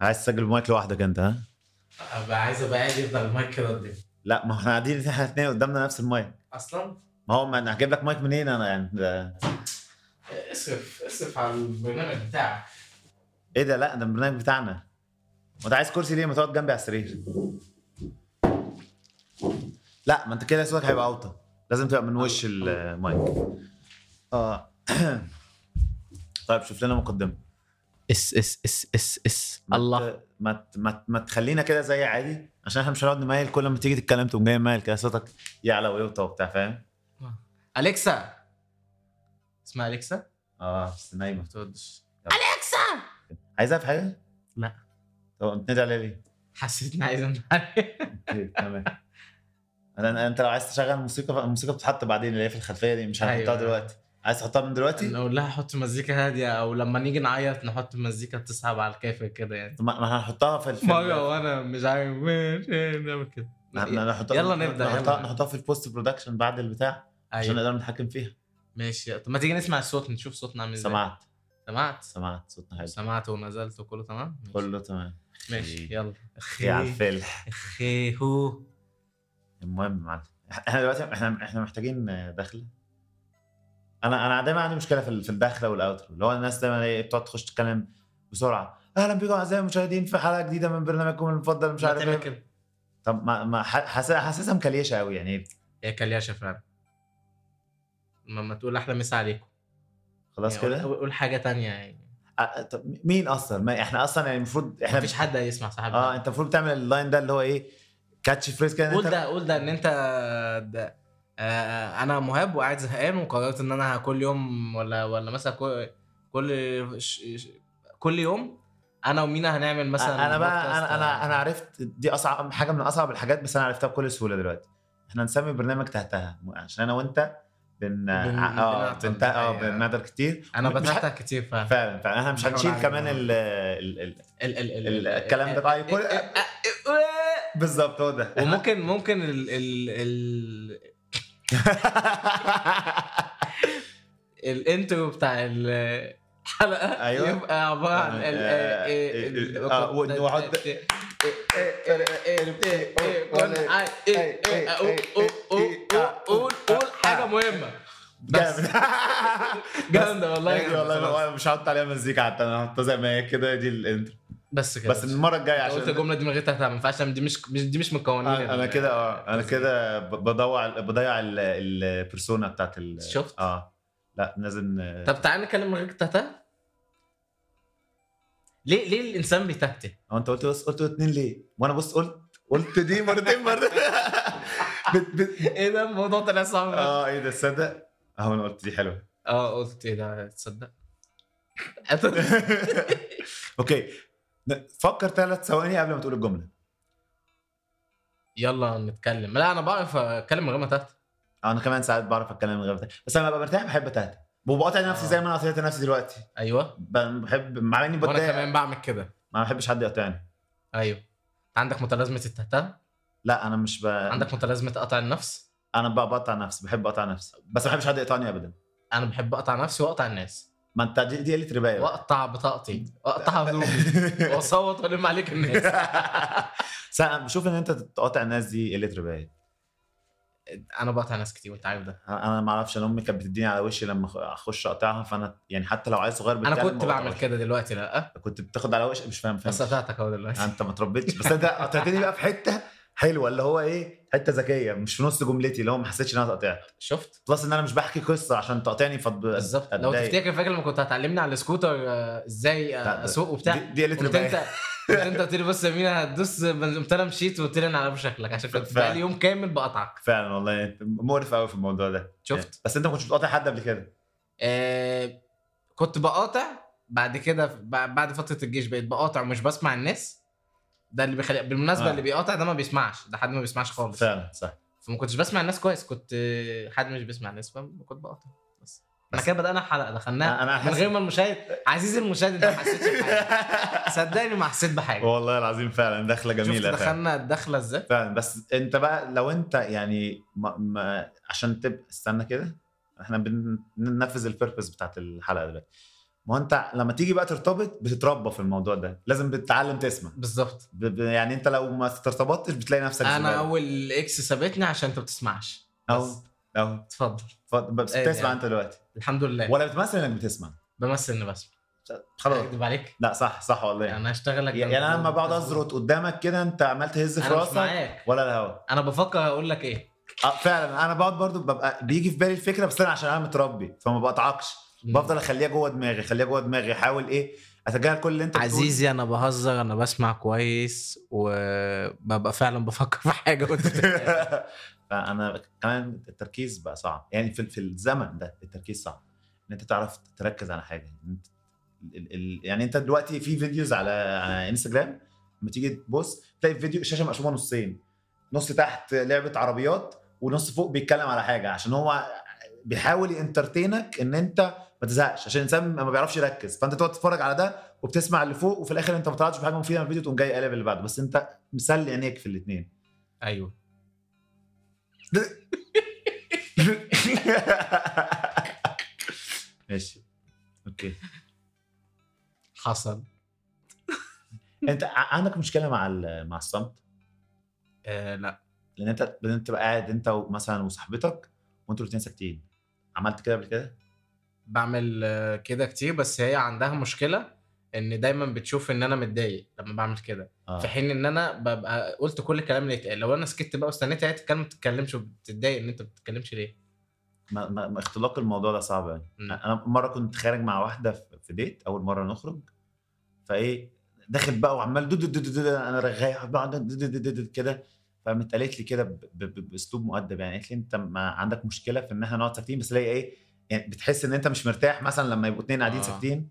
عايز تسجل بمايك لوحدك انت ها؟ ابقى عايز ابقى قاعد يفضل المايك كده قدامي لا ما احنا قاعدين احنا الاثنين قدامنا نفس المايك اصلا ما هو ما انا هجيب لك مايك منين انا يعني ده اصرف اصرف على البرنامج بتاعك ايه ده لا ده البرنامج بتاعنا وانت عايز كرسي ليه ما تقعد جنبي على السرير لا ما انت كده صوتك هيبقى اوطى لازم تبقى من وش المايك اه طيب شوف لنا مقدمه اس اس اس اس اس ما الله ت- ما ت- ما ت- ما تخلينا كده زي عادي عشان احنا مش هنقعد نمايل كل ما تيجي تتكلم تقوم جاي مايل كده صوتك يعلى ويوطى وبتاع فاهم اليكسا اسمها اليكسا اه بس نايمه تقعدش اكسا عايزها في حاجه؟ لا. طب بتنادي عليا ليه؟ حسيت اني عايز أنام. اوكي، تمام انا أنا- انت لو عايز تشغل موسيقى الموسيقى بتتحط بعدين اللي هي في الخلفيه دي مش هنحطها أيوة. دلوقتي عايز تحطها من دلوقتي؟ نقول لها حط مزيكا هاديه او لما نيجي نعيط نحط مزيكا بتسحب على الكافر كده يعني طب ما ما هنحطها في الفيلم مره وانا مش عارف أيوة. نعمل كده نحطها يلا نبدأ، نحطها يلا. نحطها في البوست برودكشن بعد البتاع عشان ايوه نقدر نتحكم فيها ماشي طب ما تيجي نسمع الصوت نشوف صوتنا عامل ازاي سمعت سمعت سمعت صوتنا حلو سمعت ونزلت وكله تمام ماشي. كله تمام ماشي يلا اخي على الفلح اخي هو المهم يا معلم احنا دلوقتي احنا احنا محتاجين دخله انا انا دايما عندي مشكله في ال- في الدخله والاوترو اللي هو الناس دايما ايه بتقعد تخش تتكلم بسرعه اهلا بكم اعزائي المشاهدين في حلقه جديده من برنامجكم المفضل مش مش عارف عارف تعمل ايه كده طب ما ما ح- حاسس- حاسسها مكليشه قوي يعني هي كليشه فعلا ما ما تقول احلى مسا عليكم خلاص يعني قول- كده قول قول حاجه تانية يعني أ- طب مين اصلا ما احنا اصلا يعني المفروض احنا مفيش حد هيسمع صاحبنا اه انت المفروض تعمل اللاين ده اللي هو ايه كاتش فريز كده إن قول انت ده قول ده ان انت ده آه انا مهاب وقاعد زهقان وقررت ان انا كل يوم ولا ولا مثلا كل كل ش- ش- كل يوم انا ومينا هنعمل مثلا انا بقى بودكاست، انا انا آه، انا عرفت دي اصعب حاجه من اصعب الحاجات بس انا عرفتها بكل سهوله دلوقتي احنا نسمي برنامج تهتها عشان انا وانت بن اه بنعطل. بنت اه أيوة. بنقدر كتير انا مش- بتحتك كتير فعلا فعلا فعلا احنا مش بنحاول يعني. هنشيل على كمان الجمهور. ال ال ال ال- ال- ال- ال- ال- الكلام ده ال- بقى يكون- ال- ال- ال- بالظبط هو ده وممكن ممكن ال ال ال الانترو بتاع ال- الحلقه أيوة. يبقى عباره عن ال- آه، ال- ال- آه، وأحط- قول قول حاجه مهمه جامد جامده والله بس- أيوة والله جامدة، خلاص. أنا مش هحط عليها مزيكا حتى انا هحطها زي ما هي كده دي الانترو بس كده بس المره الجايه أنت قلت عشان الجمله دي من غير تهتها ما ينفعش دي مش مش- دي مش من قوانين ال- انا كده اه انا كده ب- بضيع بضيع ال- البرسونا بتاعت ال شفت؟ اه لا لازم اه طب تعال نتكلم من غير تهتها ليه ليه الانسان بيتهته؟ هو انت قلت بس قلت اتنين ليه؟ وانا بص قلت قلت دي مرتين مرتين بت بت ايه ده الموضوع طلع صعب اه ايه ده تصدق؟ اهو انا قلت دي حلوه اه قلت ايه ده تصدق اوكي ن- فكر ثلاث ثواني قبل ما تقول الجمله يلا نتكلم لا انا بعرف اتكلم من غير ما تهته آه، انا كمان ساعات بعرف اتكلم من غير بتاع. بس انا ببقى مرتاح بحب اتهته وبقاطع نفسي آه. زي ما انا قاطعت نفسي دلوقتي ايوه ب- بحب مع اني وانا بتضايق كمان بعمل كده ما بحبش حد يقاطعني ايوه عندك متلازمه التهتها لا انا مش ب... عندك متلازمه قطع النفس انا بقى بقطع نفسي بحب اقطع نفسي بس ما بحبش حد يقطعني ابدا انا بحب اقطع نفسي واقطع الناس ما انت دي دي قله ربايه بقى. واقطع بطاقتي واقطع هدومي واصوت والم عليك الناس بس أنا بشوف ان انت تقاطع الناس دي قله ربايه انا بقطع ناس كتير وانت عارف ده انا ما اعرفش انا امي كانت بتديني على وشي لما أخ- اخش اقطعها فانا يعني حتى لو عيل صغير انا بيتكلم كنت ما بعمل بقطعوش. كده دلوقتي لا أه؟ كنت بتاخد على وشك مش فاهم فاهم بس قطعتك اهو دلوقتي انت ما تربيتش بس انت قطعتني بقى في حته حلوه اللي هو ايه حته ذكيه مش في نص جملتي اللي هو ما حسيتش ان انا اتقطعت شفت بلس ان انا مش بحكي قصه عشان تقاطعني إيه؟ فض... بالظبط لو أتضايق. تفتكر فاكر لما كنت هتعلمني على السكوتر آه، ازاي لا، آه، ده- اسوق وبتاع دي- دي قله قلت ربايه انت قلت انت قلت لي بص يا مينا هتدوس بنز- قمت انا مشيت وقلت لي انا على شكلك عشان كنت فعلا. بقالي يوم كامل بقطعك فعلا والله انت مقرف قوي في الموضوع ده شفت بس انت ما كنتش بتقاطع حد قبل كده إيه. آه كنت بقاطع بعد كده ب- بعد فتره الجيش بقيت بقاطع ومش بسمع الناس ده اللي بيخلي بالمناسبه آه. آه. اللي بيقاطع ده ما بيسمعش ده حد ما بيسمعش خالص فعلا صح فما كنتش بسمع الناس كويس كنت آه، حد مش بيسمع الناس فكنت بقاطع بس احنا بس- كده بدانا الحلقه دخلناها انا من حاسس- غير ما المشاهد عزيزي المشاهد انت ما حسيتش بحاجه صدقني ما حسيت بحاجه والله العظيم فعلا دخله جميله شفت فعلا. دخلنا الدخله ازاي فعلا بس انت بقى لو انت يعني ما ما عشان تبقى استنى كده احنا بننفذ البيربز بتاعت الحلقه دلوقتي ما هو انت لما تيجي بقى ترتبط بتتربى في الموضوع ده لازم بتتعلم تسمع بالظبط ب- ب- يعني انت لو ما ارتبطتش بتلاقي نفسك انا زبالة. اول اكس سابتني عشان انت ما بتسمعش اهو بس. اهو اتفضل ف- بس ايه بتسمع يعني. إيه. انت دلوقتي الحمد لله ولا بتمثل انك بتسمع بمثل اني بسمع خلاص اكذب عليك لا صح صح والله انا هشتغلك يعني انا لما بقعد ازرط قدامك كده انت عمال تهز في انا مش راسك معاك ولا الهوا انا بفكر اقول لك ايه اه فعلا انا بقعد برضو ببقى بيجي في بالي الفكره بس انا عشان انا متربي فما بقطعكش بفضل اخليها جوه دماغي اخليها جوه دماغي احاول ايه اتجاهل كل اللي انت بتقوله. عزيزي انا بهزر انا بسمع كويس وببقى فعلا بفكر في حاجه وانت بتتكلم. فانا كمان التركيز بقى صعب يعني في, في الزمن ده التركيز صعب ان انت تعرف تركز على حاجه إن أنت- ال- ال- يعني انت دلوقتي في فيديوز على على انستجرام لما تيجي تبص تلاقي فيديو الشاشه مقسومه نصين نص تحت لعبه عربيات ونص فوق بيتكلم على حاجه عشان هو بيحاول ينترتينك ان انت ما تزهقش عشان الانسان ما بيعرفش يركز فانت تقعد تتفرج على ده وبتسمع اللي فوق وفي الاخر انت ما طلعتش بحاجه مفيده من الفيديو تقوم جاي قلب اللي بعده بس انت مسلي عينيك في الاثنين ايوه ماشي اوكي حصل انت ع- عندك مشكله مع ال- مع الصمت آه لا لان انت لان انت تبقى قاعد انت مثلا وصاحبتك وانتوا الاثنين ساكتين عملت كده قبل كده بعمل آه، كده كتير بس هي عندها مشكله ان دايما بتشوف ان انا متضايق لما بعمل كده اه في حين ان انا ببقى قلت كل الكلام اللي يتقال لو انا سكت بقى واستنيت هي تتكلم ما تتكلمش وبتتضايق ان انت ما بتتكلمش ليه ما ما ما اختلاق الموضوع ده صعب يعني مم. انا مره كنت خارج مع واحده في- في ديت اول مره نخرج فايه داخل بقى وعمال دود دود دود دود انا رغاي بقعد دود دود دود دود كده فقامت قالت لي كده ب- ب- ب- باسلوب مؤدب يعني قالت لي انت ما عندك مشكله في ان احنا نقعد ساكتين بس ليه ايه يعني بتحس ان انت مش مرتاح مثلا لما يبقوا اتنين قاعدين آه. ساكتين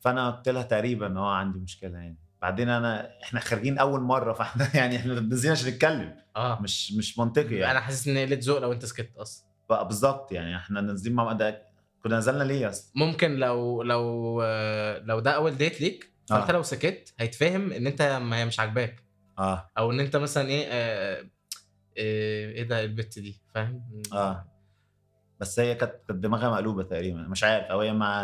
فانا قلت لها تقريبا اه عندي مشكله يعني بعدين انا احنا خارجين اول مره فاحنا يعني احنا نازلين عشان نتكلم اه مش مش منطقي يعني انا حاسس ان قله ذوق لو انت سكت اصلا بقى بالظبط يعني احنا نازلين مع ده كنا نزلنا ليه اصلا؟ ممكن لو لو آه، لو ده اول ديت ليك فانت آه. لو سكت هيتفهم ان انت ما هي مش عاجباك اه او ان انت مثلا ايه آه، آه، ايه ده البت دي فاهم اه بس هي كانت كانت دماغها مقلوبه تقريبا مش عارف او هي مع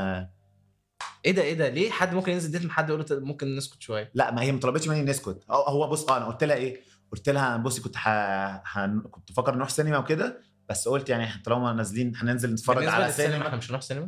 ايه ده ايه ده ليه حد ممكن ينزل ديت مع حد يقول له ممكن نسكت شويه لا ما هي ما طلبتش مني نسكت أو هو بص اه انا قلت لها ايه؟ قلت لها بصي كنت ح... ح... كنت بفكر نروح سينما وكده بس قلت يعني إحنا طالما نازلين هننزل نتفرج بالنسبة على للسينما، سينما احنا مش هنروح سينما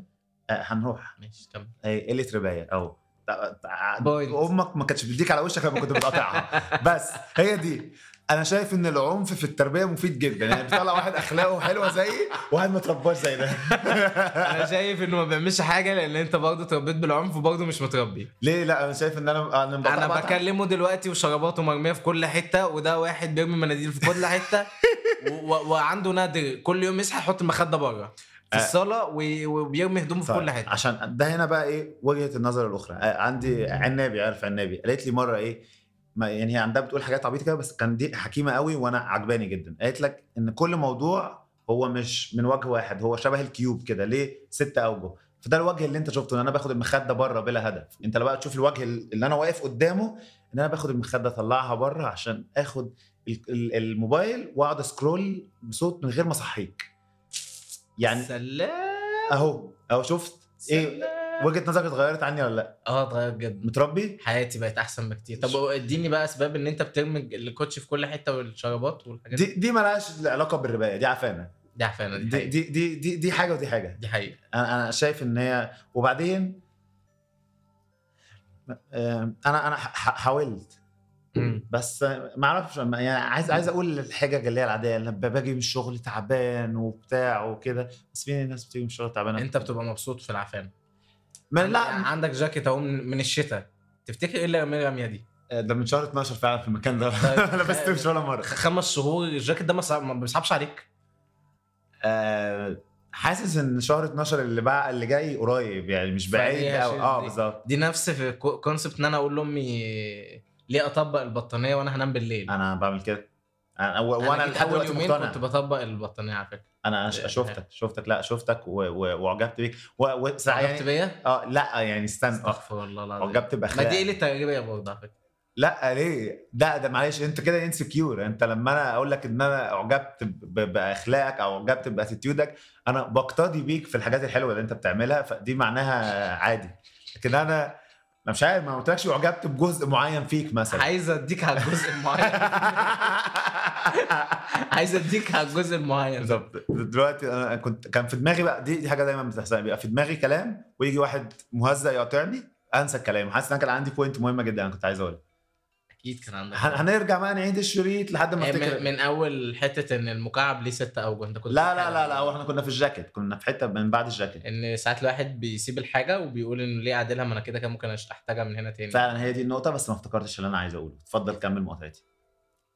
آه هنروح ماشي كمل هي قله ربايه اهو تع- تع- Point. امك ما كانتش بتديك على وشك لما كنت بتقاطعها بس هي دي انا شايف ان العنف في التربيه مفيد جدا يعني بيطلع واحد اخلاقه حلوه زيي وواحد ما ترباش زي ده انا شايف انه ما بيعملش حاجه لان انت برضه اتربيت بالعنف وبرضه مش متربي ليه لا انا شايف ان انا انا بقطع- انا بقطع. بكلمه دلوقتي وشراباته مرميه في كل حته وده واحد بيرمي مناديل في كل حته و- و- وعنده نادر كل يوم يصحى يحط المخده بره في آه. الصاله وي- وبيرمي هدومه في طيب، كل حته عشان ده هنا بقى ايه وجهه النظر الاخرى آه، عندي عنابي عارف عنابي قالت لي مره ايه ما يعني هي عندها بتقول حاجات عبيطه كده بس كان دي حكيمه قوي وانا عجباني جدا قالت لك ان كل موضوع هو مش من وجه واحد هو شبه الكيوب كده ليه ست اوجه فده الوجه اللي انت شفته ان انا باخد المخده بره بلا هدف انت لو بقى تشوف الوجه اللي انا واقف قدامه ان انا باخد المخده اطلعها بره عشان اخد ال- ال- الموبايل واقعد اسكرول بصوت من غير ما اصحيك يعني سلام اهو اهو شفت ايه سلام. وجهه نظرك اتغيرت عني ولا لا اه اتغير جدا متربي حياتي بقت احسن بكتير طب اديني بقى اسباب ان انت بترمي الكوتش في كل حته والشرابات والحاجات دي دي مالهاش علاقه بالربايه دي عفانه دي عفانه دي دي حقيقة. دي دي دي, دي حاجه ودي حاجه دي حقيقه انا انا شايف ان هي وبعدين آم، انا انا ح- ح- حاولت مم. بس ما اعرفش ما- يعني عايز عايز اقول الحاجه اللي هي العاديه لما باجي من الشغل تعبان وبتاع وكده بس فين الناس بتيجي من الشغل تعبانه انت بتبقى مبسوط في العفانه ما لا لا عندك جاكيت اهو من من الشتاء تفتكر ايه اللي رمي الرميه دي؟ ده من شهر 12 فعلا في المكان ده يعني طيب. انا بستمش ولا مره خ- خمس شهور الجاكيت ده ما صع- ما بيصعبش عليك آه، حاسس ان شهر 12 اللي بقى اللي جاي قريب يعني مش بعيد فهي أوي. شيء اه دي. بالظبط دي نفس الكونسبت ان انا اقول لامي ليه اطبق البطانيه وانا هنام بالليل انا بعمل كده انا و- أنا وانا جيت لحد اول دلوقتي يومين مقتنع كنت آه. بطبق البطانيه على فكره انا ش- شفتك شفتك لا شفتك و- و- واعجبت بيك و- و- سع- عجبت يعني بيا اه لا يعني استنى آه، استغفر الله العظيم اعجبت ما دي باخلاقك قله تجربه برضه على فكره لا ليه لا ده معلش انت كده انسكيور انت لما انا اقول لك ان انا اعجبت ب- باخلاقك او اعجبت باتيتيودك انا بقتدي بيك في الحاجات الحلوه اللي انت بتعملها فدي معناها عادي لكن انا انا مش عارف ما قلتلكش اعجبت بجزء معين فيك مثلا عايز اديك على الجزء المعين عايز اديك على الجزء المعين ده. بالظبط دلوقتي انا كنت كان في دماغي بقى دي, دي حاجه دايما بتحصل بيبقى في دماغي كلام ويجي واحد مهزأ يقاطعني انسى الكلام حاسس ان انا كان عندي بوينت مهمه جدا انا كنت عايز اقولها اكيد كان عندك إيه، هن- هنرجع بقى نعيد الشريط لحد ما افتكر من, من اول حته ان المكعب ليه ست اوجه انت كنت لا لا بتتكلم لا لا هو احنا كنا في الجاكيت كنا في حته من بعد الجاكيت ان ساعات الواحد بيسيب الحاجه وبيقول انه ليه اعدلها ما انا كده كان ممكن أش- احتاجها من هنا تاني فعلا هي دي النقطه بس ما افتكرتش اللي انا عايز اقوله إيه. اتفضل كمل مقاطعتي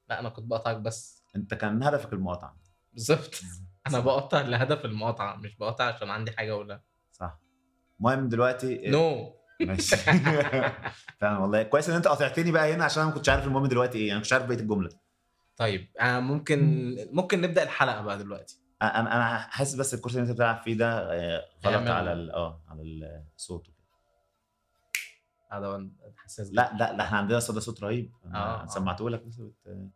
لا انا كنت بقطعك بس انت كان هدفك المقاطعه بالظبط انا بقطع لهدف المقاطعه مش بقطع عشان عندي حاجه اقولها صح المهم دلوقتي إيه، نو ماشي فعلا والله كويس ان انت قاطعتني بقى هنا عشان انا ما كنتش عارف المهم دلوقتي ايه انا مش عارف بقيه الجمله طيب آه ممكن ممكن نبدا الحلقه بقى دلوقتي انا انا حاسس بس الكرسي اللي انت بتلعب فيه ده آه، غلط هيعمل- على ال- اه على الصوت وكده. هذا حساس جداً. لا لا لا احنا عندنا صدى صوت رهيب آه، انا آه. سمعته لك بس بت-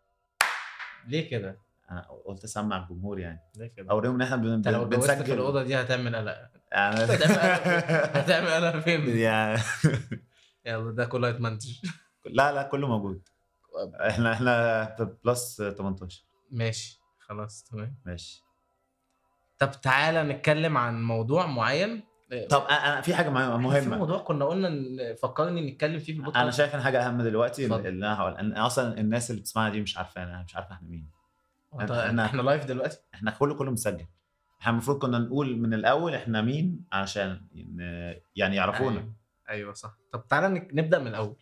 ليه كده؟ انا قلت اسمع الجمهور يعني ليه كده؟ اوريهم ان احنا بن- انت لو بن- اتجوزت في بنسجل الاوضه دي هتعمل قلق يعني هتعمل قلق فين؟ يعني يلا ده كله هيتمنتج لا لا كله موجود احنا احنا بلس 18 ماشي خلاص تمام ماشي طب تعالى نتكلم عن موضوع معين آه، طب أ- انا في حاجه مه- في مهمه موضوع كنا قلنا إن- فكرني نتكلم فيه في البودكاست انا شايف ان حاجه اهم دلوقتي اتفضل. اللي انا هقول انا اصلا الناس اللي بتسمعنا دي مش عارفانا انا مش عارف احنا مين هو انت- أنا- احنا لايف دلوقتي احنا كله كله مسجل احنا المفروض كنا نقول من الاول احنا مين عشان ن- يعني يعرفونا ايوه, أيوة صح طب تعالى نك- نبدا من الاول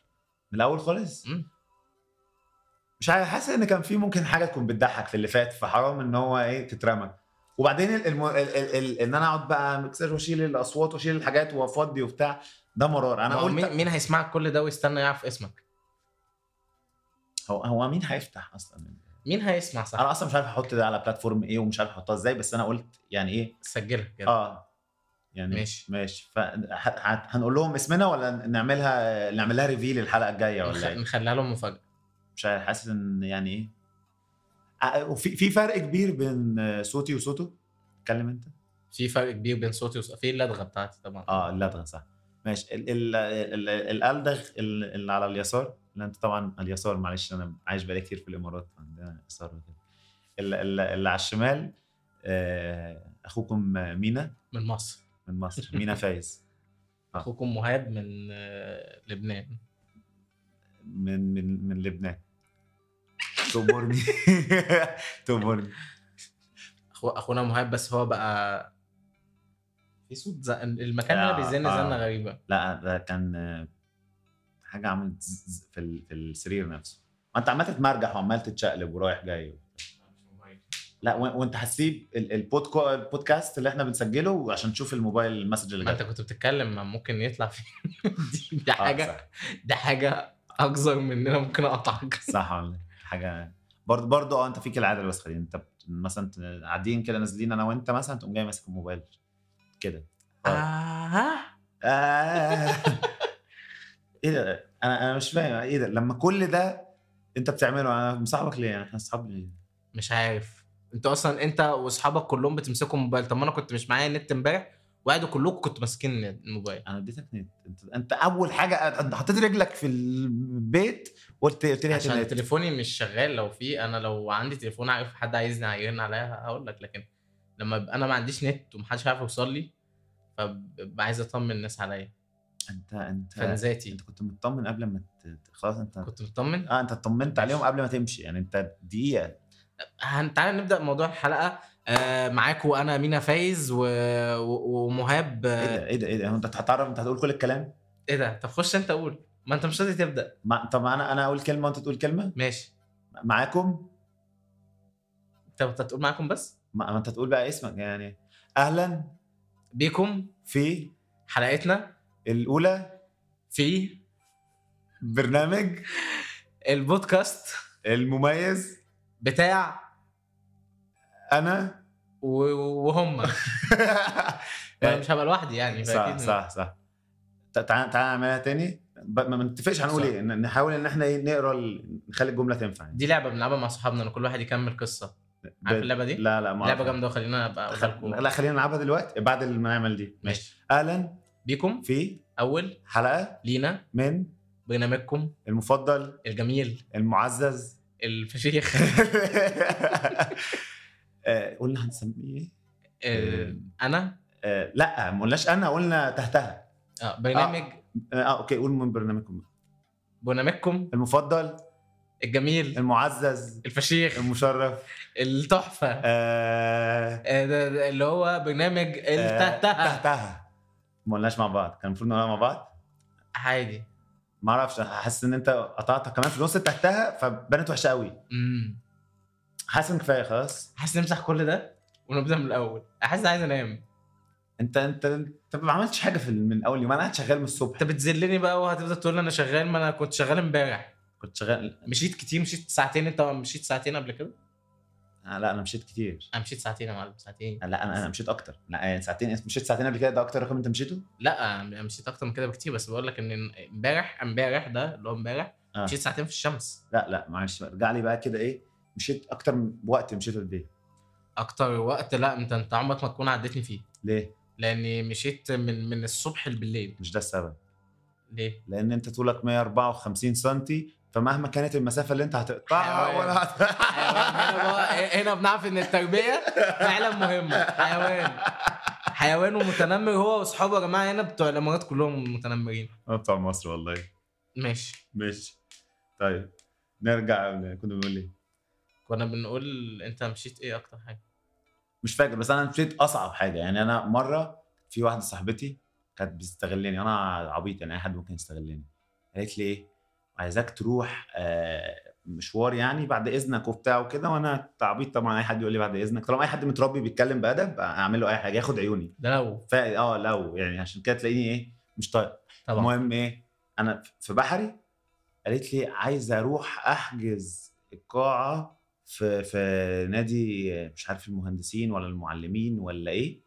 من الاول خالص مم. مش عارف حاسس ان كان في ممكن حاجه تكون بتضحك في اللي فات فحرام ان هو ايه تترمى وبعدين ال الم... ال ال ال ان انا اقعد بقى مكسر واشيل الاصوات واشيل الحاجات وافضي وبتاع ده مرار انا ما هو قلت مين, مين هيسمعك كل ده ويستنى يعرف اسمك هو هو مين هيفتح اصلا مين هيسمع صح انا اصلا مش عارف احط ده على بلاتفورم ايه ومش عارف احطها ازاي بس انا قلت يعني ايه سجلها كده اه يعني ماشي. ماشي فهنقول لهم اسمنا ولا نعملها نعمل لها ريفيل الحلقه الجايه نخ- ولا ايه؟ نخليها لهم مفاجاه مش عارف حاسس ان يعني ايه آه، وفي في فرق كبير بين آه، صوتي وصوته اتكلم انت في فرق كبير بين صوتي وصوتي في اللدغه بتاعتي طبعا اه اللدغه صح ماشي ال ال ال ال- الالدغ ال- اللي على اليسار اللي انت طبعا على اليسار معلش انا عايش بقالي كتير في الامارات عندنا يسار وكده ال- ال- اللي على الشمال آه، اخوكم آه، مينا من مصر من مصر مينا فايز آه. اخوكم مهاب من آه، لبنان من من من لبنان تؤمرني تؤمرني أخو... اخونا مهاب بس هو بقى في صوت ز... المكان هنا آه، بيزن آه. زنه غريبه لا ده كان آه، حاجه عملت ز- ز- في ال- في السرير نفسه ما انت عمال تتمرجح وعمال تتشقلب ورايح جاي لا و- وانت هتسيب ال- البودكو البودكاست اللي احنا بنسجله عشان تشوف الموبايل المسج اللي ما انت جاي كنت بتتكلم ما ممكن يطلع فيه دي, دي آه، حاجه صح دي حاجه اكثر مننا ممكن اقطعك صح والله حاجه برضه برضه اه انت فيك العاده الوسخه دي انت بت- مثلا ت- قاعدين كده نازلين انا وانت مثلا تقوم جاي ماسك الموبايل كده آه. آه. ايه ده انا انا مش فاهم ايه ده لما كل ده انت بتعمله انا مصاحبك ليه يعني احنا اصحاب ليه مش عارف انت اصلا انت واصحابك كلهم بتمسكوا موبايل طب ما انا كنت مش معايا نت امبارح وقعدوا كلكم كنتوا ماسكين الموبايل انا اديتك نت انت انت اول حاجه انت حطيت رجلك في البيت وقلت قلت لي هات عشان النت تليفوني مش شغال لو في انا لو عندي تليفون عارف حد عايزني هيرن عليا هقول لك لكن لما يبقى انا ما عنديش نت ومحدش عارف يوصل لي فببقى عايز اطمن الناس عليا انت انت فنزاتي انت كنت مطمن قبل ما ت- خلاص انت كنت مطمن اه انت اطمنت عليهم قبل ما تمشي يعني انت دقيقه هن- تعالى نبدا موضوع الحلقه آه معاكم انا مينا فايز و... و... ومهاب ايه آه، ده ايه ده ايه ده هو انت هتعرف انت هتقول كل الكلام ايه ده طب خش انت قول ما انت مش راضي تبدا ما طب انا انا اقول كلمه وانت تقول كلمه ماشي معاكم طب انت هتقول معاكم بس ما ما انت تقول بقى اسمك يعني اهلا بيكم في حلقتنا الاولى في برنامج البودكاست المميز بتاع انا و... وهم انا مش هبقى لوحدي يعني صح فأكيد- صح صح تع- تعال تعال نعملها تاني ب- ما ما نتفقش هنقول صح. ايه ن- نحاول ان احنا إيه، نقرا ال- نخلي الجمله تنفع يعني. دي لعبه بنلعبها مع صحابنا ان كل واحد يكمل قصه ب- عارف اللعبه دي لا لا ما لعبه أعرف. جامده وخلينا ابقى اقولها خل- لكم لا خلينا نلعبها دلوقتي بعد ما نعمل دي ماشي اهلا بيكم في اول حلقه لينا من برنامجكم المفضل الجميل المعزز الفشيخ آه، قلنا هنسميه ايه؟ آه، انا آه، لا ما قلناش انا قلنا تحتها آه، برنامج اه اوكي قول من برنامجكم برنامجكم المفضل الجميل المعزز الفشيخ المشرف التحفه آه، آه، ده- ده اللي هو برنامج آه، التهتها تحتها ما قلناش مع بعض كان المفروض نقولها مع بعض عادي ما اعرفش أنا حاسس ان انت قطعتها كمان في نص تحتها فبانت وحشه قوي امم حاسس ان كفايه خلاص حاسس نمسح كل ده ونبدا من الاول حاسس عايز انام انت انت انت ما عملتش حاجه في من اول يوم انا قاعد شغال من الصبح انت بتذلني بقى وهتفضل تقول لي انا شغال ما انا كنت شغال امبارح كنت شغال مشيت كتير مشيت ساعتين انت مشيت ساعتين قبل كده آه، لا انا مشيت كتير انا مشيت ساعتين يا معلم ساعتين آه، لا انا انا مشيت اكتر لا يعني ساعتين مشيت ساعتين قبل كده ده اكتر رقم انت مشيته لا انا مشيت اكتر من كده بكتير بس بقول لك ان امبارح امبارح ده اللي هو امبارح آه. مشيت ساعتين في الشمس لا لا معلش بقى، ارجع لي بقى كده ايه مشيت اكتر من وقت مشيته قد ايه اكتر وقت لا انت انت عمرك ما تكون عدتني فيه ليه لاني مشيت من من الصبح بالليل مش ده السبب ليه لان انت طولك 154 سم فمهما كانت المسافه اللي انت هتقطعها حيوان. ولا هنا بقى- هت... هنا بنعرف ان التربيه فعلا مهمه حيوان حيوان ومتنمر هو واصحابه يا جماعه هنا بتوع الامارات كلهم متنمرين آه، بتاع مصر والله ماشي ماشي طيب نرجع ل- كنا بنقول ايه كنا بنقول انت مشيت ايه اكتر حاجه مش فاكر بس انا مشيت اصعب حاجه يعني انا مره في واحده صاحبتي كانت بتستغلني انا عبيط يعني اي حد ممكن يستغلني قالت لي ايه عايزاك تروح آه، مشوار يعني بعد اذنك وبتاع وكده وانا تعبيط طبعا اي حد يقول لي بعد اذنك طالما اي حد متربي بيتكلم بادب اعمل له اي حاجه ياخد عيوني ده لو ف اه لو يعني عشان كده تلاقيني ايه مش طايق طبعا المهم ايه انا في بحري قالت لي عايزه اروح احجز القاعه في في نادي مش عارف المهندسين ولا المعلمين ولا ايه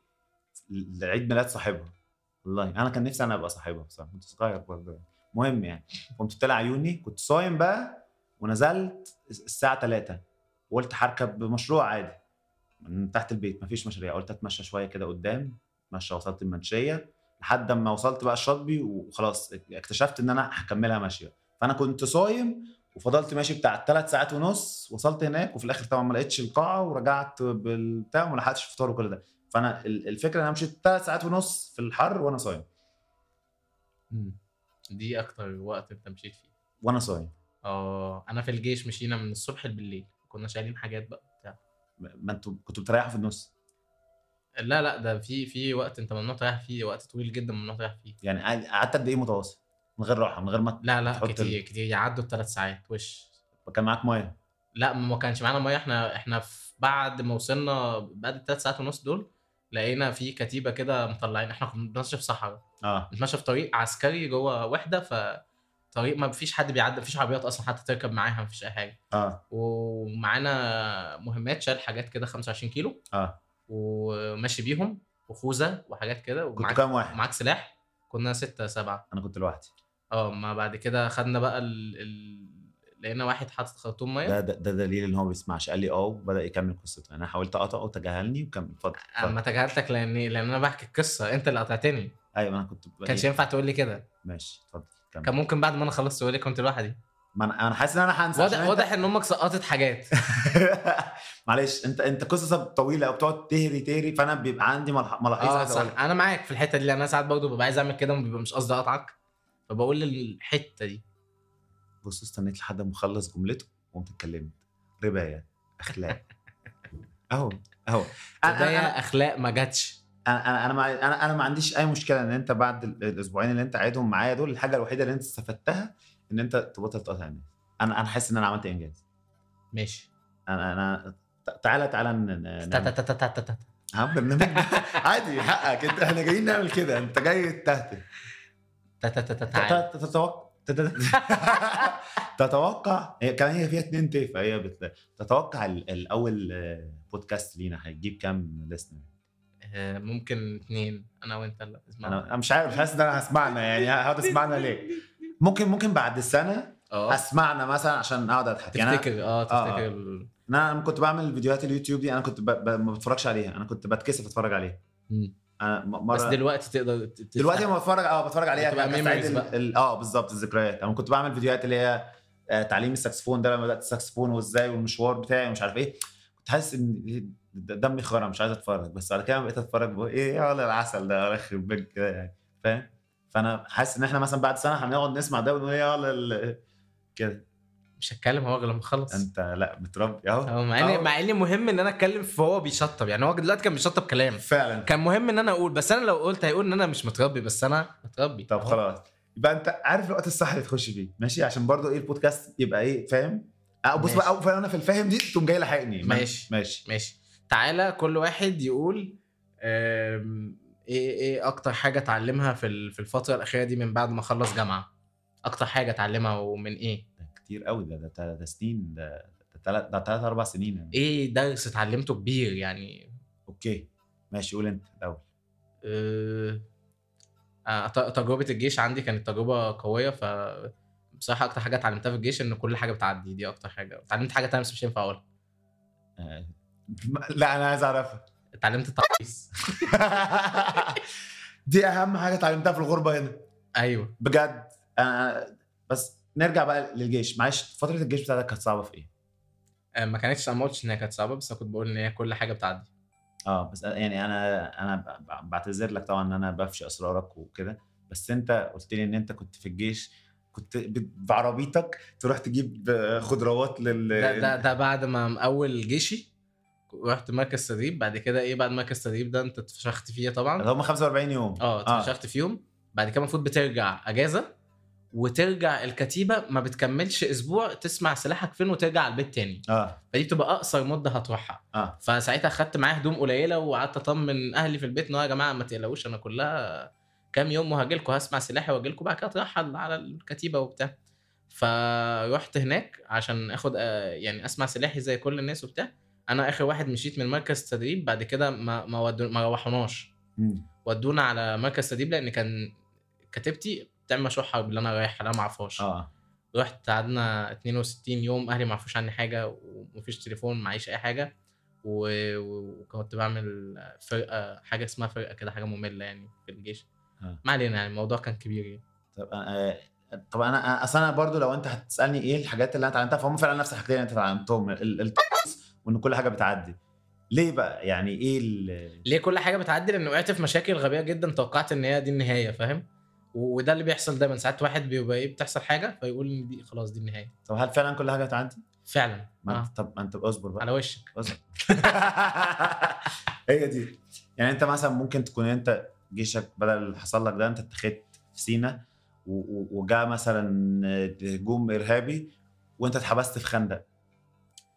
لعيد ميلاد صاحبها والله انا كان نفسي انا ابقى صاحبها بصراحه كنت صغير برضه يعني. المهم يعني قمت طالع عيوني كنت صايم بقى ونزلت الساعه 3 وقلت هركب مشروع عادي من تحت البيت مفيش مشاريع قلت اتمشى شويه كده قدام اتمشى وصلت المنشيه لحد ما وصلت بقى الشاطبي وخلاص اكتشفت ان انا هكملها ماشيه فانا كنت صايم وفضلت ماشي بتاع ثلاث ساعات ونص وصلت هناك وفي الاخر طبعا ما لقيتش القاعه ورجعت بالبتاع وما لحقتش فطار وكل ده فانا ال- الفكره ان انا مشيت ثلاث ساعات ونص في الحر وانا صايم مم. دي اكتر وقت انت مشيت فيه وانا صايم اه انا في الجيش مشينا من الصبح بالليل كنا شايلين حاجات بقى بتاع م- ما انتوا كنتوا بتريحوا في النص لا لا ده في في وقت انت ممنوع تريح فيه وقت طويل جدا ممنوع تريح فيه يعني قعد- قعدت قد ايه متواصل من غير راحه من غير ما لا لا تحط ال- كتير كتير يعدوا الثلاث ساعات وش كان معاك ميه لا ما كانش معانا ميه احنا احنا في بعد ما وصلنا بعد الثلاث ساعات ونص دول لقينا في كتيبه كده مطلعين احنا كنا بنتمشى في صحراء اه بنتمشى في طريق عسكري جوه وحده فطريق ما فيش حد بيعدي ما فيش عربيات اصلا حتى تركب معاها ما فيش اي حاجه اه ومعانا مهمات شايل حاجات كده 25 كيلو اه وماشي بيهم وخوذه وحاجات كده كنت ومعاك كام واحد معاك سلاح كنا ستة سبعة انا كنت لوحدي اه ما بعد كده خدنا بقى ال... ال... لقينا واحد حاطط خرطوم ميه ده ده, ده دليل ان هو ما بيسمعش قال لي اه وبدا يكمل قصته انا حاولت اقطعه تجاهلني وكمل اتفضل انا ما اتفضل. تجاهلتك لان لان انا بحكي القصه انت اللي قطعتني ايوه انا كنت ما كانش ينفع تقول لي كده ماشي اتفضل كان كمل ممكن بعد ما انا خلصت تقول لي كنت لوحدي ما انا انا حاسس ان انا هنسى واضح عشان أنت- واضح ان امك سقطت حاجات معلش انت انت قصصك طويله او بتقعد تهري تهري فانا بيبقى عندي ملح- ملاحظ اه عايز صح اقولها انا معاك في الحته دي لان انا ساعات برضه ببقى عايز اعمل كده وبيبقى مش قصدي اقطعك فبقول الحته دي بص استنيت لحد ما اخلص جملته وقمت اتكلمت ربايه اخلاق اهو اهو أنا- ده انا اخلاق ما جاتش انا انا انا ما- انا انا ما عنديش اي مشكله ان انت بعد ال- الاسبوعين اللي انت قاعدهم معايا دول الحاجه الوحيده اللي انت استفدتها ان انت تبطل تقطع الناس انا انا حاسس ان انا عملت انجاز ماشي انا انا ت- تعالى تعالى ن- ن- تا- تا- نعمل- تا- تا- تا- تا- تا. ها، برنامج عادي حقك انت احنا جايين نعمل كده انت جاي تهته تا- تا- تا- تا- تعال. ت- ت- تتوقع ت- ت- تتوقع هي كمان هي فيها اتنين ت فهي بت... تتوقع ال- الاول آه، بودكاست لينا هيجيب كام لسنر آه، ممكن اتنين انا وانت لا انا اسمع أنا مش عارف مش حاسس ان انا هسمعنا يعني هقعد اسمعنا ليه ممكن ممكن بعد السنه اه اسمعنا مثلا عشان اقعد اضحك يعني أنا- تفتكر اه آه. تفتكر ال- انا لما كنت بعمل فيديوهات اليوتيوب دي انا كنت ب... ب... ما بتفرجش عليها انا كنت بتكسف اتفرج عليها مم. انا م- بس مره دلوقتي تقدر ت- تفتح. دلوقتي لما بتفرج اه بتفرج عليها بتبقى كان- memories كان بقى. ال- ال- اه بالظبط الذكريات انا كنت بعمل فيديوهات اللي هي آه، تعليم الساكسفون ده لما بدات الساكسفون وازاي والمشوار بتاعي ومش عارف ايه كنت حاسس ان إيه د- دمي خرم مش عايز اتفرج بس على كده لما بقيت اتفرج بقول ايه يا ولا العسل ده ولا يخرب بيك كده يعني فاهم فانا حاسس ان احنا مثلا بعد سنه هنقعد نسمع ده ونقول يا ولا ال- كده مش هتكلم هو غير لما اخلص انت لا متربي اهو هو مع ان أهو. مع ان مهم ان انا اتكلم فهو بيشطب يعني هو دلوقتي كان بيشطب كلام فعلا كان مهم ان انا اقول بس انا لو قلت هيقول ان انا مش متربي بس انا متربي طب أهو. خلاص يبقى انت عارف الوقت الصح اللي تخش فيه ماشي عشان برضو ايه البودكاست يبقى ايه فاهم أو بص ماشي. بقى أو فعلا انا في الفاهم دي تقوم جاي لاحقني ما- ماشي. ماشي ماشي تعالى كل واحد يقول آم، ايه ايه اكتر حاجه اتعلمها في ال- في الفتره الاخيره دي من بعد ما خلص جامعه اكتر حاجه اتعلمها ومن ايه ده كتير قوي ده ده, ده سنين ده ده تلات ده تلات اربع سنين يعني. ايه درس اتعلمته كبير يعني اوكي ماشي قول انت الاول آه، آه، ت- تجربه الجيش عندي كانت تجربه قويه ف بصراحه اكتر حاجه اتعلمتها في الجيش ان كل حاجه بتعدي دي اكتر حاجه اتعلمت حاجه تانية بس مش هينفع اقولها آه. لا انا عايز اعرفها اتعلمت التعويض دي اهم حاجه اتعلمتها في الغربه هنا ايوه بجد انا بس نرجع بقى للجيش معلش فتره الجيش بتاعتك كانت صعبه في ايه؟ آه، ما كانتش انا ما قلتش ان هي كانت صعبه بس أنا كنت بقول ان هي كل حاجه بتعدي اه بس يعني انا انا ب- ب- بعتذر لك طبعا ان انا بفشي اسرارك وكده بس انت قلت لي ان انت كنت في الجيش كنت ب- بعربيتك تروح تجيب آه، خضروات لل ده ده ده بعد ما مقول جيشي رحت مركز تدريب بعد كده ايه بعد مركز تدريب ده انت اتفشخت فيه طبعا اللي هم 45 يوم آه، اه اتفشخت فيهم بعد كده المفروض بترجع اجازه وترجع الكتيبه ما بتكملش اسبوع تسمع سلاحك فين وترجع على البيت تاني اه فدي بتبقى اقصر مده هتروحها اه. فساعتها خدت معايا هدوم قليله وقعدت اطمن اهلي في البيت ان هو يا جماعه ما تقلقوش انا كلها كام يوم وهاجي لكم هسمع سلاحي واجي لكم بعد كده اترحل على الكتيبه وبتاع فروحت هناك عشان اخد آه، يعني اسمع سلاحي زي كل الناس وبتاع انا اخر واحد مشيت من مركز تدريب بعد كده ما ما, ودو ما روحوناش مم. ودونا على مركز تدريب لان كان كتيبتي بتعمل مشروع حرب اللي انا رايح انا ما اعرفهاش اه رحت قعدنا 62 يوم اهلي ما عرفوش عني حاجه ومفيش تليفون معيش اي حاجه و... و- وكنت بعمل فرقه حاجه اسمها فرقه كده حاجه ممله يعني في الجيش آه. ما علينا يعني الموضوع كان كبير يعني طب انا طب انا أنا- اصل انا برضو لو انت هتسالني ايه الحاجات اللي انا اتعلمتها فهم فعلا نفس الحاجات اللي انت اتعلمتهم ال- التقص وان كل حاجه بتعدي ليه بقى يعني ايه ال- ليه كل حاجه بتعدي لان وقعت في مشاكل غبيه جدا توقعت ان هي دي النهايه فاهم و- وده اللي بيحصل دايما ساعات واحد بيبقى ايه بتحصل حاجه فيقول ان دي خلاص دي النهايه طب هل فعلا كل حاجه بتعدي فعلا ما آه. انت طب ما انت اصبر بقى على وشك اصبر هي دي يعني انت مثلا ممكن تكون انت جيشك بدل اللي حصل لك ده انت اتخذت في سينا و- و- وجاء مثلا هجوم ارهابي وانت اتحبست في خندق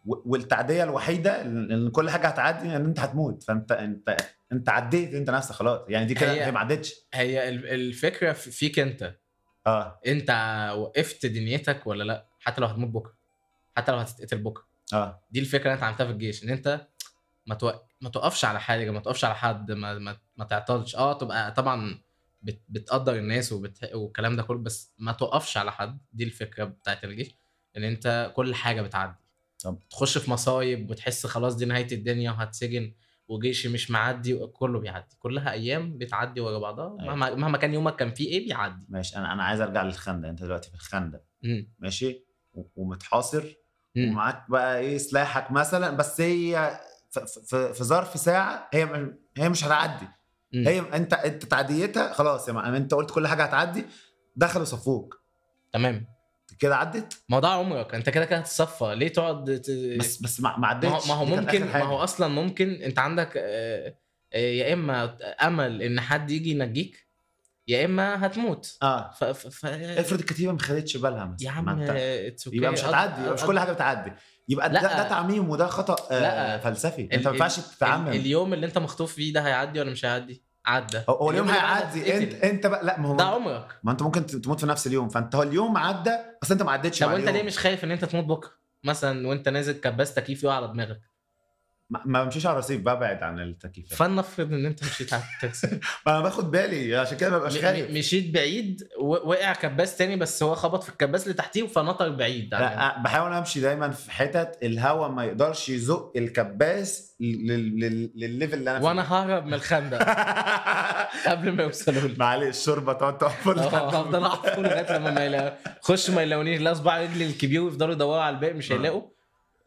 و- والتعديه الوحيده ان كل حاجه هتعدي ان انت هتموت فانت انت انت عديت انت نفسك خلاص يعني دي كده هي- هي ما عدتش هي ال- الفكره في- فيك انت اه انت وقفت دنيتك ولا لا حتى لو هتموت بكره حتى لو هتتقتل بكره اه دي الفكره اللي انت عملتها في الجيش ان انت ما توق... ما توقفش على حاجه ما توقفش على حد ما ما, ما تعطلش اه تبقى طبعا بت... بتقدر الناس وبت... والكلام ده كله بس ما توقفش على حد دي الفكره بتاعت الجيش ان انت كل حاجه بتعدي طب. تخش في مصايب وتحس خلاص دي نهايه الدنيا وهتسجن وجيشي مش معدي كله بيعدي كلها ايام بتعدي ورا بعضها أيوة. مهما مهما كان يومك كان فيه ايه بيعدي ماشي انا انا عايز ارجع للخندق انت دلوقتي في الخندق مم. ماشي و- ومتحاصر مم. ومعاك بقى ايه سلاحك مثلا بس هي ف- ف- ف- في ظرف ساعه هي م- هي مش هتعدي مم. هي انت انت تعديتها خلاص يا معلم انت قلت كل حاجه هتعدي دخلوا صفوك تمام كده عدت ما هو ده عمرك انت كده كده هتتصفى ليه تقعد ت... بس بس ما ما إيه. ما هو, عدتش ما هو دي كانت ممكن آخر حاجة. ما هو اصلا ممكن انت عندك آه، آه، يا اما امل ان حد يجي ينجيك يا اما هتموت اه ف... ف... ف... افرض الكتيبه ما خدتش بالها مثلا يا ما عم انت- آه، it's okay. يبقى مش أض- هتعدي يبقى مش أض- كل حاجه بتعدي يبقى ده, لا. ده تعميم وده خطا آه لا. فلسفي ال- انت ما ينفعش ال- تتعمم اليوم اللي انت مخطوف فيه ده هيعدي ولا مش هيعدي عدى هو- هو اليوم اللي بعده هيعدي انت هتتقتل. انت بقى لا ما ده هو عمرك ما انت ممكن تموت في نفس اليوم فانت هو اليوم عدى بس انت ما عدتش طب مع وانت ليه اليوم. مش خايف ان انت تموت بكره مثلا وانت نازل كباس تكييف يقع على دماغك ما ما بمشيش على الرصيف ببعد عن التكييفات فلنفرض ان انت مشيت على التاكسي ما انا باخد بالي عشان كده ما ببقاش خايف م- مشيت بعيد و- وقع كباس تاني بس هو خبط في الكباس اللي تحتيه فنطر بعيد عن- لا بحاول امشي دايما في حتت الهواء ما يقدرش يزق الكباس لل- لل- للليفل اللي انا فيه وانا ههرب من الخندق قبل ما يوصلوا لي معلش الشوربه تقعد تحفر اه، هفضل احفر لغايه لما ما يلاقوا خش ما يلاقونيش لا صباع رجلي الكبير ويفضلوا يدوروا على الباقي مش اه. هيلاقوا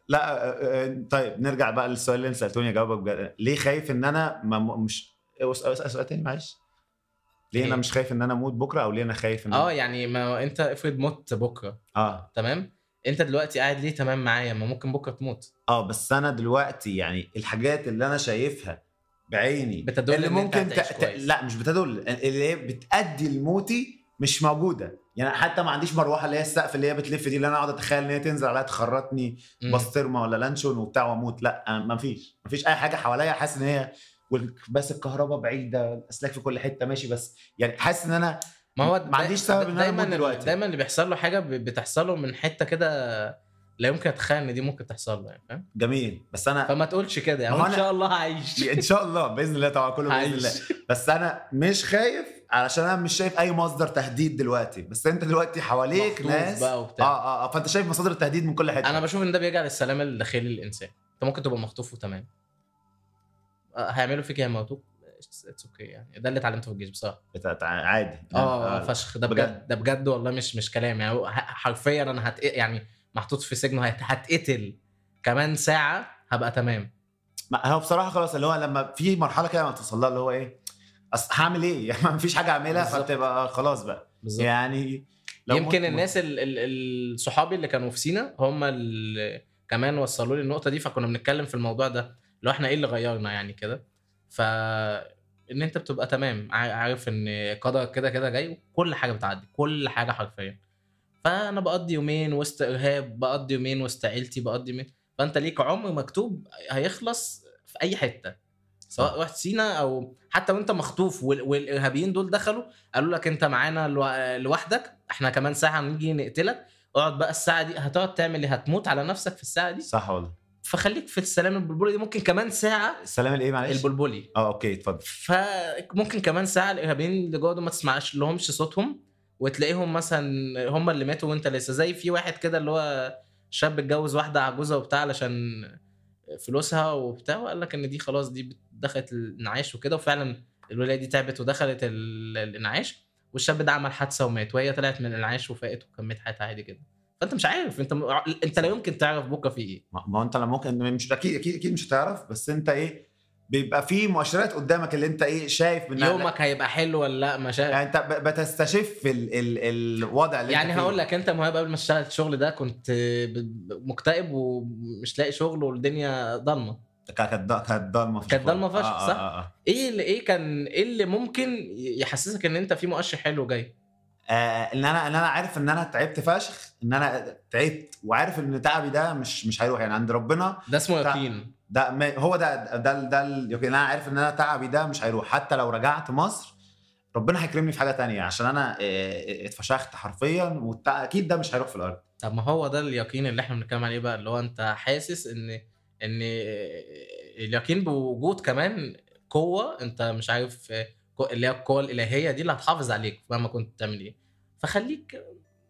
لا آه، آه، طيب نرجع بقى للسؤال اللي انت سالتوني اجاوبك بجد ليه خايف ان انا ما م- مش اسال اسال سؤال تاني معلش ليه انا ايه؟ مش خايف ان انا اموت بكره او ليه انا خايف ان اه أنا- يعني ما انت افرض مت بكره اه تمام انت دلوقتي قاعد ليه تمام معايا ما ممكن بكره تموت اه بس انا دلوقتي يعني الحاجات اللي انا شايفها بعيني بتدل اللي إن أنت ممكن هتعيش ت... ت... كويس. لا مش بتدل اللي هي بتأدي لموتي مش موجوده يعني حتى ما عنديش مروحه اللي هي السقف اللي هي بتلف دي اللي انا اقعد اتخيل ان هي تنزل عليها تخرطني مم. بسطرمه ولا لانشون وبتاع واموت لا ما فيش ما فيش اي حاجه حواليا حاسس ان هي وال- بس الكهرباء بعيده الاسلاك في كل حته ماشي بس يعني حاسس ان انا ما هو ما عنديش سبب إن أنا دايما أموت دلوقتي. دايما اللي بيحصل له حاجه ب- بتحصله من حته كده لا يمكن اتخيل ان دي ممكن تحصل له يعني فاهم جميل بس انا فما تقولش كده ما هو يعني ان أنا- شاء الله هعيش ان شاء الله باذن الله طبعا كله باذن الله هعيش بس انا مش خايف علشان انا مش شايف اي مصدر تهديد دلوقتي بس انت دلوقتي حواليك مخطوف ناس بقى اه وبتاع اه اه فانت شايف مصادر التهديد من كل حته انا بشوف ان ده بيرجع للسلام الداخلي للانسان انت ممكن تبقى مخطوف وتمام آه، هيعملوا فيك إيه؟ هيموتوك اتس اوكي يعني ده اللي اتعلمته في الجيش بصراحه بتاعت- عادي اه فشخ ده آه، بجد. بجد ده بجد والله مش مش كلام يعني هو ح- حرفيا انا هت يعني محطوط في سجن وهت- هتقتل كمان ساعه هبقى تمام ما هو بصراحه خلاص اللي هو لما في مرحله كده ما توصل لها اللي هو ايه أص... هعمل ايه؟ يعني مفيش حاجه اعملها بالظبط. فبتبقى خلاص بقى بالظبط يعني لو يمكن مت- الناس ال- ال- ال- صحابي اللي كانوا في سينا هم اللي كمان وصلوا لي النقطه دي فكنا بنتكلم في الموضوع ده لو احنا ايه اللي غيرنا يعني كده ف ان انت بتبقى تمام ع- عارف ان قدرك كده كده جاي وكل حاجه بتعدي كل حاجه حرفيا فانا بقضي يومين وسط ارهاب بقضي يومين وسط عيلتي بقضي يومين فانت ليك عمر مكتوب هيخلص في اي حته سواء رحت سينا او حتى وانت مخطوف وال- والارهابيين دول دخلوا قالوا لك انت معانا لو- لوحدك احنا كمان ساعه هنيجي نقتلك اقعد بقى الساعه دي هتقعد تعمل ايه هتموت على نفسك في الساعه دي صح والله فخليك في السلام البلبلي دي ممكن كمان ساعه السلام الايه معلش؟ البلبلي اه اوكي اتفضل فممكن كمان ساعه الارهابيين اللي جوه دول ما تسمعش لهمش صوتهم وتلاقيهم مثلا هم اللي ماتوا وانت لسه زي في واحد كده اللي هو شاب اتجوز واحده عجوزه وبتاع علشان فلوسها وبتاع وقال لك ان دي خلاص دي دخلت الانعاش وكده وفعلا الولايه دي تعبت ودخلت ال- الانعاش والشاب ده عمل حادثه ومات وهي طلعت من الانعاش وفاقت وكملت حياتها عادي جدا فانت مش عارف انت م... انت لا يمكن تعرف بكره في ايه ما ما هو انت لما ممكن مش اكيد اكيد اكيد مش هتعرف بس انت ايه بيبقى في مؤشرات قدامك اللي انت ايه شايف منها يومك هيبقى حلو ولا لا مش عارف يعني انت ب- بتستشف ال ال الوضع اللي يعني هقول لك انت مهاب قبل ما اشتغل الشغل ده كنت ب- ب- مكتئب ومش لاقي شغل والدنيا ضلمه كانت ض- كانت ضلمه فشخ كانت ضلمة والله. فشخ، آه، صح؟ آه، آه. ايه اللي ايه كان ايه اللي ممكن يحسسك ان انت في مؤشر حلو جاي آه ان انا ان انا عارف ان انا تعبت فشخ ان انا تعبت وعارف ان تعبي ده مش مش هيروح يعني عند ربنا ده اسمه تع- يقين ده ما هو ده ده ده, ده ال- يمكن انا عارف ان انا تعبي ده مش هيروح حتى لو رجعت مصر ربنا هيكرمني في حاجه تانية عشان انا آه، اتفشخت حرفيا واكيد ده مش هيروح في الارض طب ما هو ده اليقين اللي احنا بنتكلم عليه بقى اللي هو انت حاسس ان ان اليقين بوجود كمان قوه انت مش عارف قو- اللي هي القوه الالهيه دي اللي هتحافظ عليك مهما كنت بتعمل ايه فخليك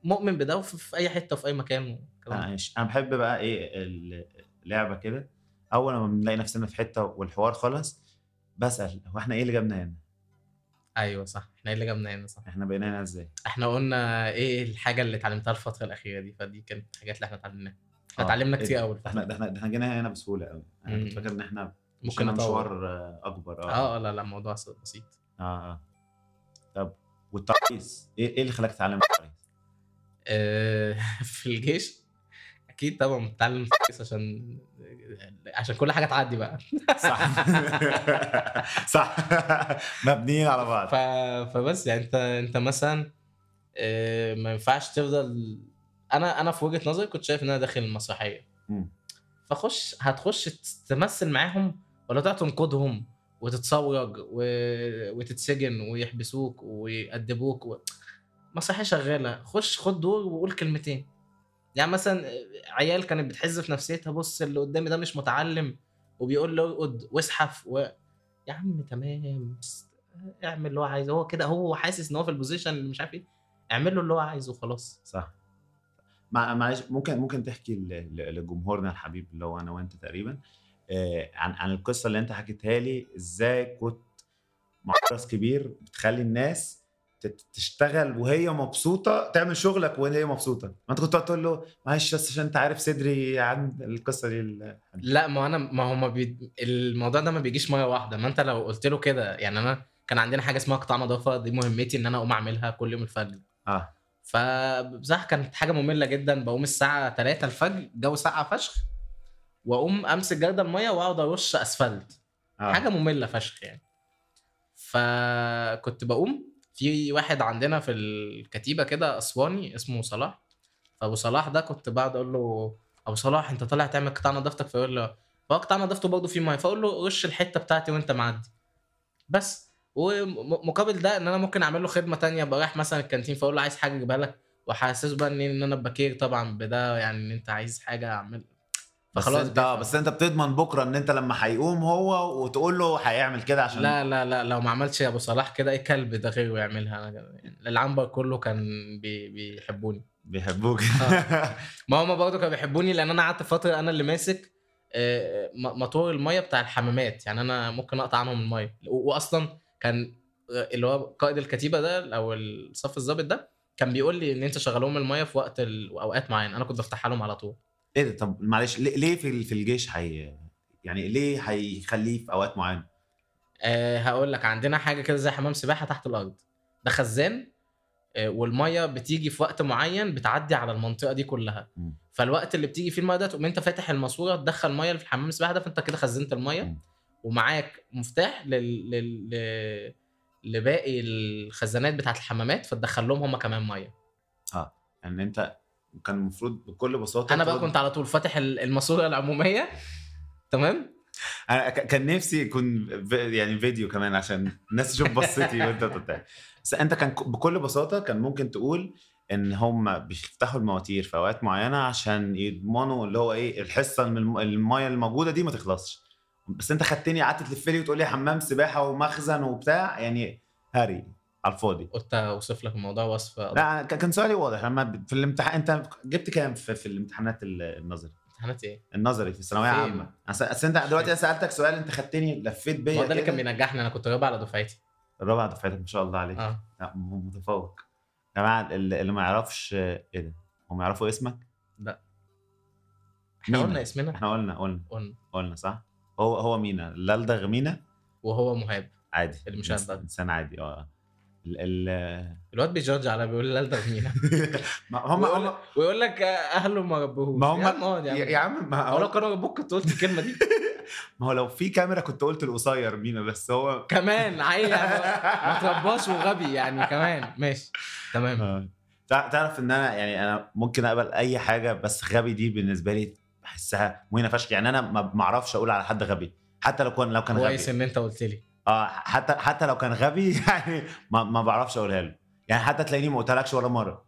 مؤمن بده في في اي حته وفي اي مكان والكلام ده. انا مش- انا بحب بقى ايه ال- اللعبه كده اول ما بنلاقي نفسنا في حته والحوار خلص بسال هو احنا ايه اللي جابنا هنا؟ ايوه صح احنا ايه اللي جابنا هنا صح احنا بقينا هنا ازاي؟ احنا قلنا ايه الحاجه اللي اتعلمتها الفتره الاخيره دي فدي كانت الحاجات اللي احنا اتعلمناها احنا آه، اتعلمنا إيه كتير ده؟ قوي احنا ده احنا ده احنا جينا هنا بسهوله قوي انا كنت مم. فاكر ان احنا ممكن نطور مشوار آه، اكبر اه اه آه، لا لا الموضوع س- بسيط اه اه طب والترقيص ايه إيه اللي خلاك تتعلم الترقيص؟ آه، في الجيش اكيد طبعا بتتعلم كويس عشان عشان كل حاجه تعدي بقى صح صح مبنيين على ف... بعض فبس يعني انت انت مثلا آه، ما ينفعش تفضل انا انا في وجهه نظري كنت شايف ان انا داخل المسرحيه مم. فخش هتخش تمثل معاهم ولا تقعد تنقدهم وتتصورج و... وتتسجن ويحبسوك ويأدبوك و... مسرحيه شغاله خش خد دور وقول كلمتين آه، يعني مثلا عيال كانت بتحز في نفسيتها بص اللي قدامي ده مش متعلم وبيقول له ارقد واسحف و... يا عم تمام بس اعمل اللي هو عايزه هو كده هو حاسس ان هو في البوزيشن اللي مش عارف ايه اعمل له اللي هو عايزه وخلاص صح مع- معلش ممكن ممكن تحكي ل- ل- لجمهورنا الحبيب اللي هو انا وانت تقريبا آه، عن عن القصه اللي انت حكيتها لي ازاي كنت مع راس كبير بتخلي الناس تت- تشتغل وهي مبسوطه تعمل شغلك وهي مبسوطه ما انت كنت تقعد تقول له معلش بس عشان انت عارف صدري عن القصه دي ال- لا ما انا ما هو ما بي... الموضوع ده ما بيجيش ميه واحده ما انت لو قلت له كده يعني انا كان عندنا حاجه اسمها قطاع نظافه دي مهمتي ان انا اقوم اعملها كل يوم الفجر اه فبصراحه كانت حاجه ممله جدا بقوم الساعه 3 الفجر الجو ساقع فشخ واقوم امسك جرد الميه واقعد ارش اسفلت اه حاجه ممله فشخ يعني فكنت بقوم في واحد عندنا في الكتيبه كده اسواني اسمه صلاح فابو صلاح ده كنت بقعد اقول له ابو صلاح انت طالع تعمل قطاع نظافتك فيقول له هو قطاع نظافته برضه فيه ميه فاقول له رش الحته بتاعتي وانت معدي بس ومقابل ده ان انا ممكن اعمل له خدمه تانية ابقى رايح مثلا الكانتين فاقول له عايز حاجه اجيبها لك واحسسه بقى ان ان انا بكير طبعا بده يعني ان انت عايز حاجه اعمل بس انت بيفهم. آه، بس انت بتضمن بكره ان انت لما هيقوم هو وتقول له هيعمل كده عشان لا لا لا لو ما عملتش يا ابو صلاح كده ايه كلب ده غيره يعملها انا يعني العنبر كله كان بي بيحبوني بيحبوك ما هم برضه كانوا بيحبوني لان انا قعدت فتره انا اللي ماسك آه، م- مطور الميه بتاع الحمامات يعني انا ممكن اقطع عنهم الميه و- واصلا كان آه، اللي هو قائد الكتيبه ده او الصف الضابط ده كان بيقول لي ان انت شغلهم الميه في وقت ال- اوقات معينه انا كنت بفتحها لهم على طول ايه ده طب معلش ليه- ليه في ال- في الجيش حي يعني ليه هيخليه في اوقات معينه أه هقول لك عندنا حاجه كده زي حمام سباحه تحت الارض ده خزان أه والميه بتيجي في وقت معين بتعدي على المنطقه دي كلها مم. فالوقت اللي بتيجي فيه الميه ده تقوم انت فاتح الماسوره تدخل ميه في الحمام السباحه ده فانت كده خزنت الميه مم. ومعاك مفتاح لل... لل... ل- لباقي الخزانات بتاعت الحمامات فتدخل لهم هم كمان ميه يعني انت كان المفروض بكل بساطه انا بقى تقول- كنت على طول فاتح ال- الماسوره العموميه تمام انا ك- كان نفسي يكون في- يعني فيديو كمان عشان الناس تشوف بصتي وانت بتتعب بس انت كان ك- بكل بساطه كان ممكن تقول ان هم بيفتحوا المواتير في اوقات معينه عشان يضمنوا اللي هو ايه الحصه من الم- الميه الموجوده دي ما تخلصش بس انت خدتني قعدت تلف لي وتقول لي حمام سباحه ومخزن وبتاع يعني هري على الفاضي قلت اوصف لك الموضوع وصف لا أنا ك- كان سؤالي واضح لما ب- في الامتحان انت جبت كام في, في الامتحانات ال- النظري امتحانات ايه؟ النظري في الثانويه فين؟ عامه أصل- اصل انت دلوقتي انا سالتك سؤال انت خدتني لفيت ما هو بيا ده اللي كان كده. بينجحني انا كنت جايبها على دفعتي الرابع دفعتك ما شاء الله عليك اه لا م- متفوق يا جماعه اللي اللي ما يعرفش آه، ايه ده هم يعرفوا اسمك احنا مين؟ قلنا اسمنا احنا قلنا قلنا قلنا قلنا صح هو هو مينا لالدغ مينا وهو مهاب عادي اللي إنس- مش هالدغ. انسان عادي اه ال ال الواد بيجادج على بيقول لي ده مين ما هم ويقول- هم ويقول لك اهله ما ربوهوش ما هم- يا عم اقعد يا عم. يا عم ما هو لو يعني هو, كانوا ربوك كنت قلت الكلمه دي ما هو لو في كاميرا كنت قلت القصير مينا بس هو كمان عيل يعني ما ترباش وغبي يعني كمان ماشي تمام آه. تع- تعرف ان انا يعني انا ممكن اقبل اي حاجه بس غبي دي بالنسبه لي بحسها مهينه فشخ يعني انا ما ما اعرفش اقول على حد غبي حتى لو كان لو كان غبي كويس ان انت قلت لي اه حتى حتى لو كان غبي يعني ما, ما بعرفش اقولها له يعني حتى تلاقيني ما قلتلكش ولا مره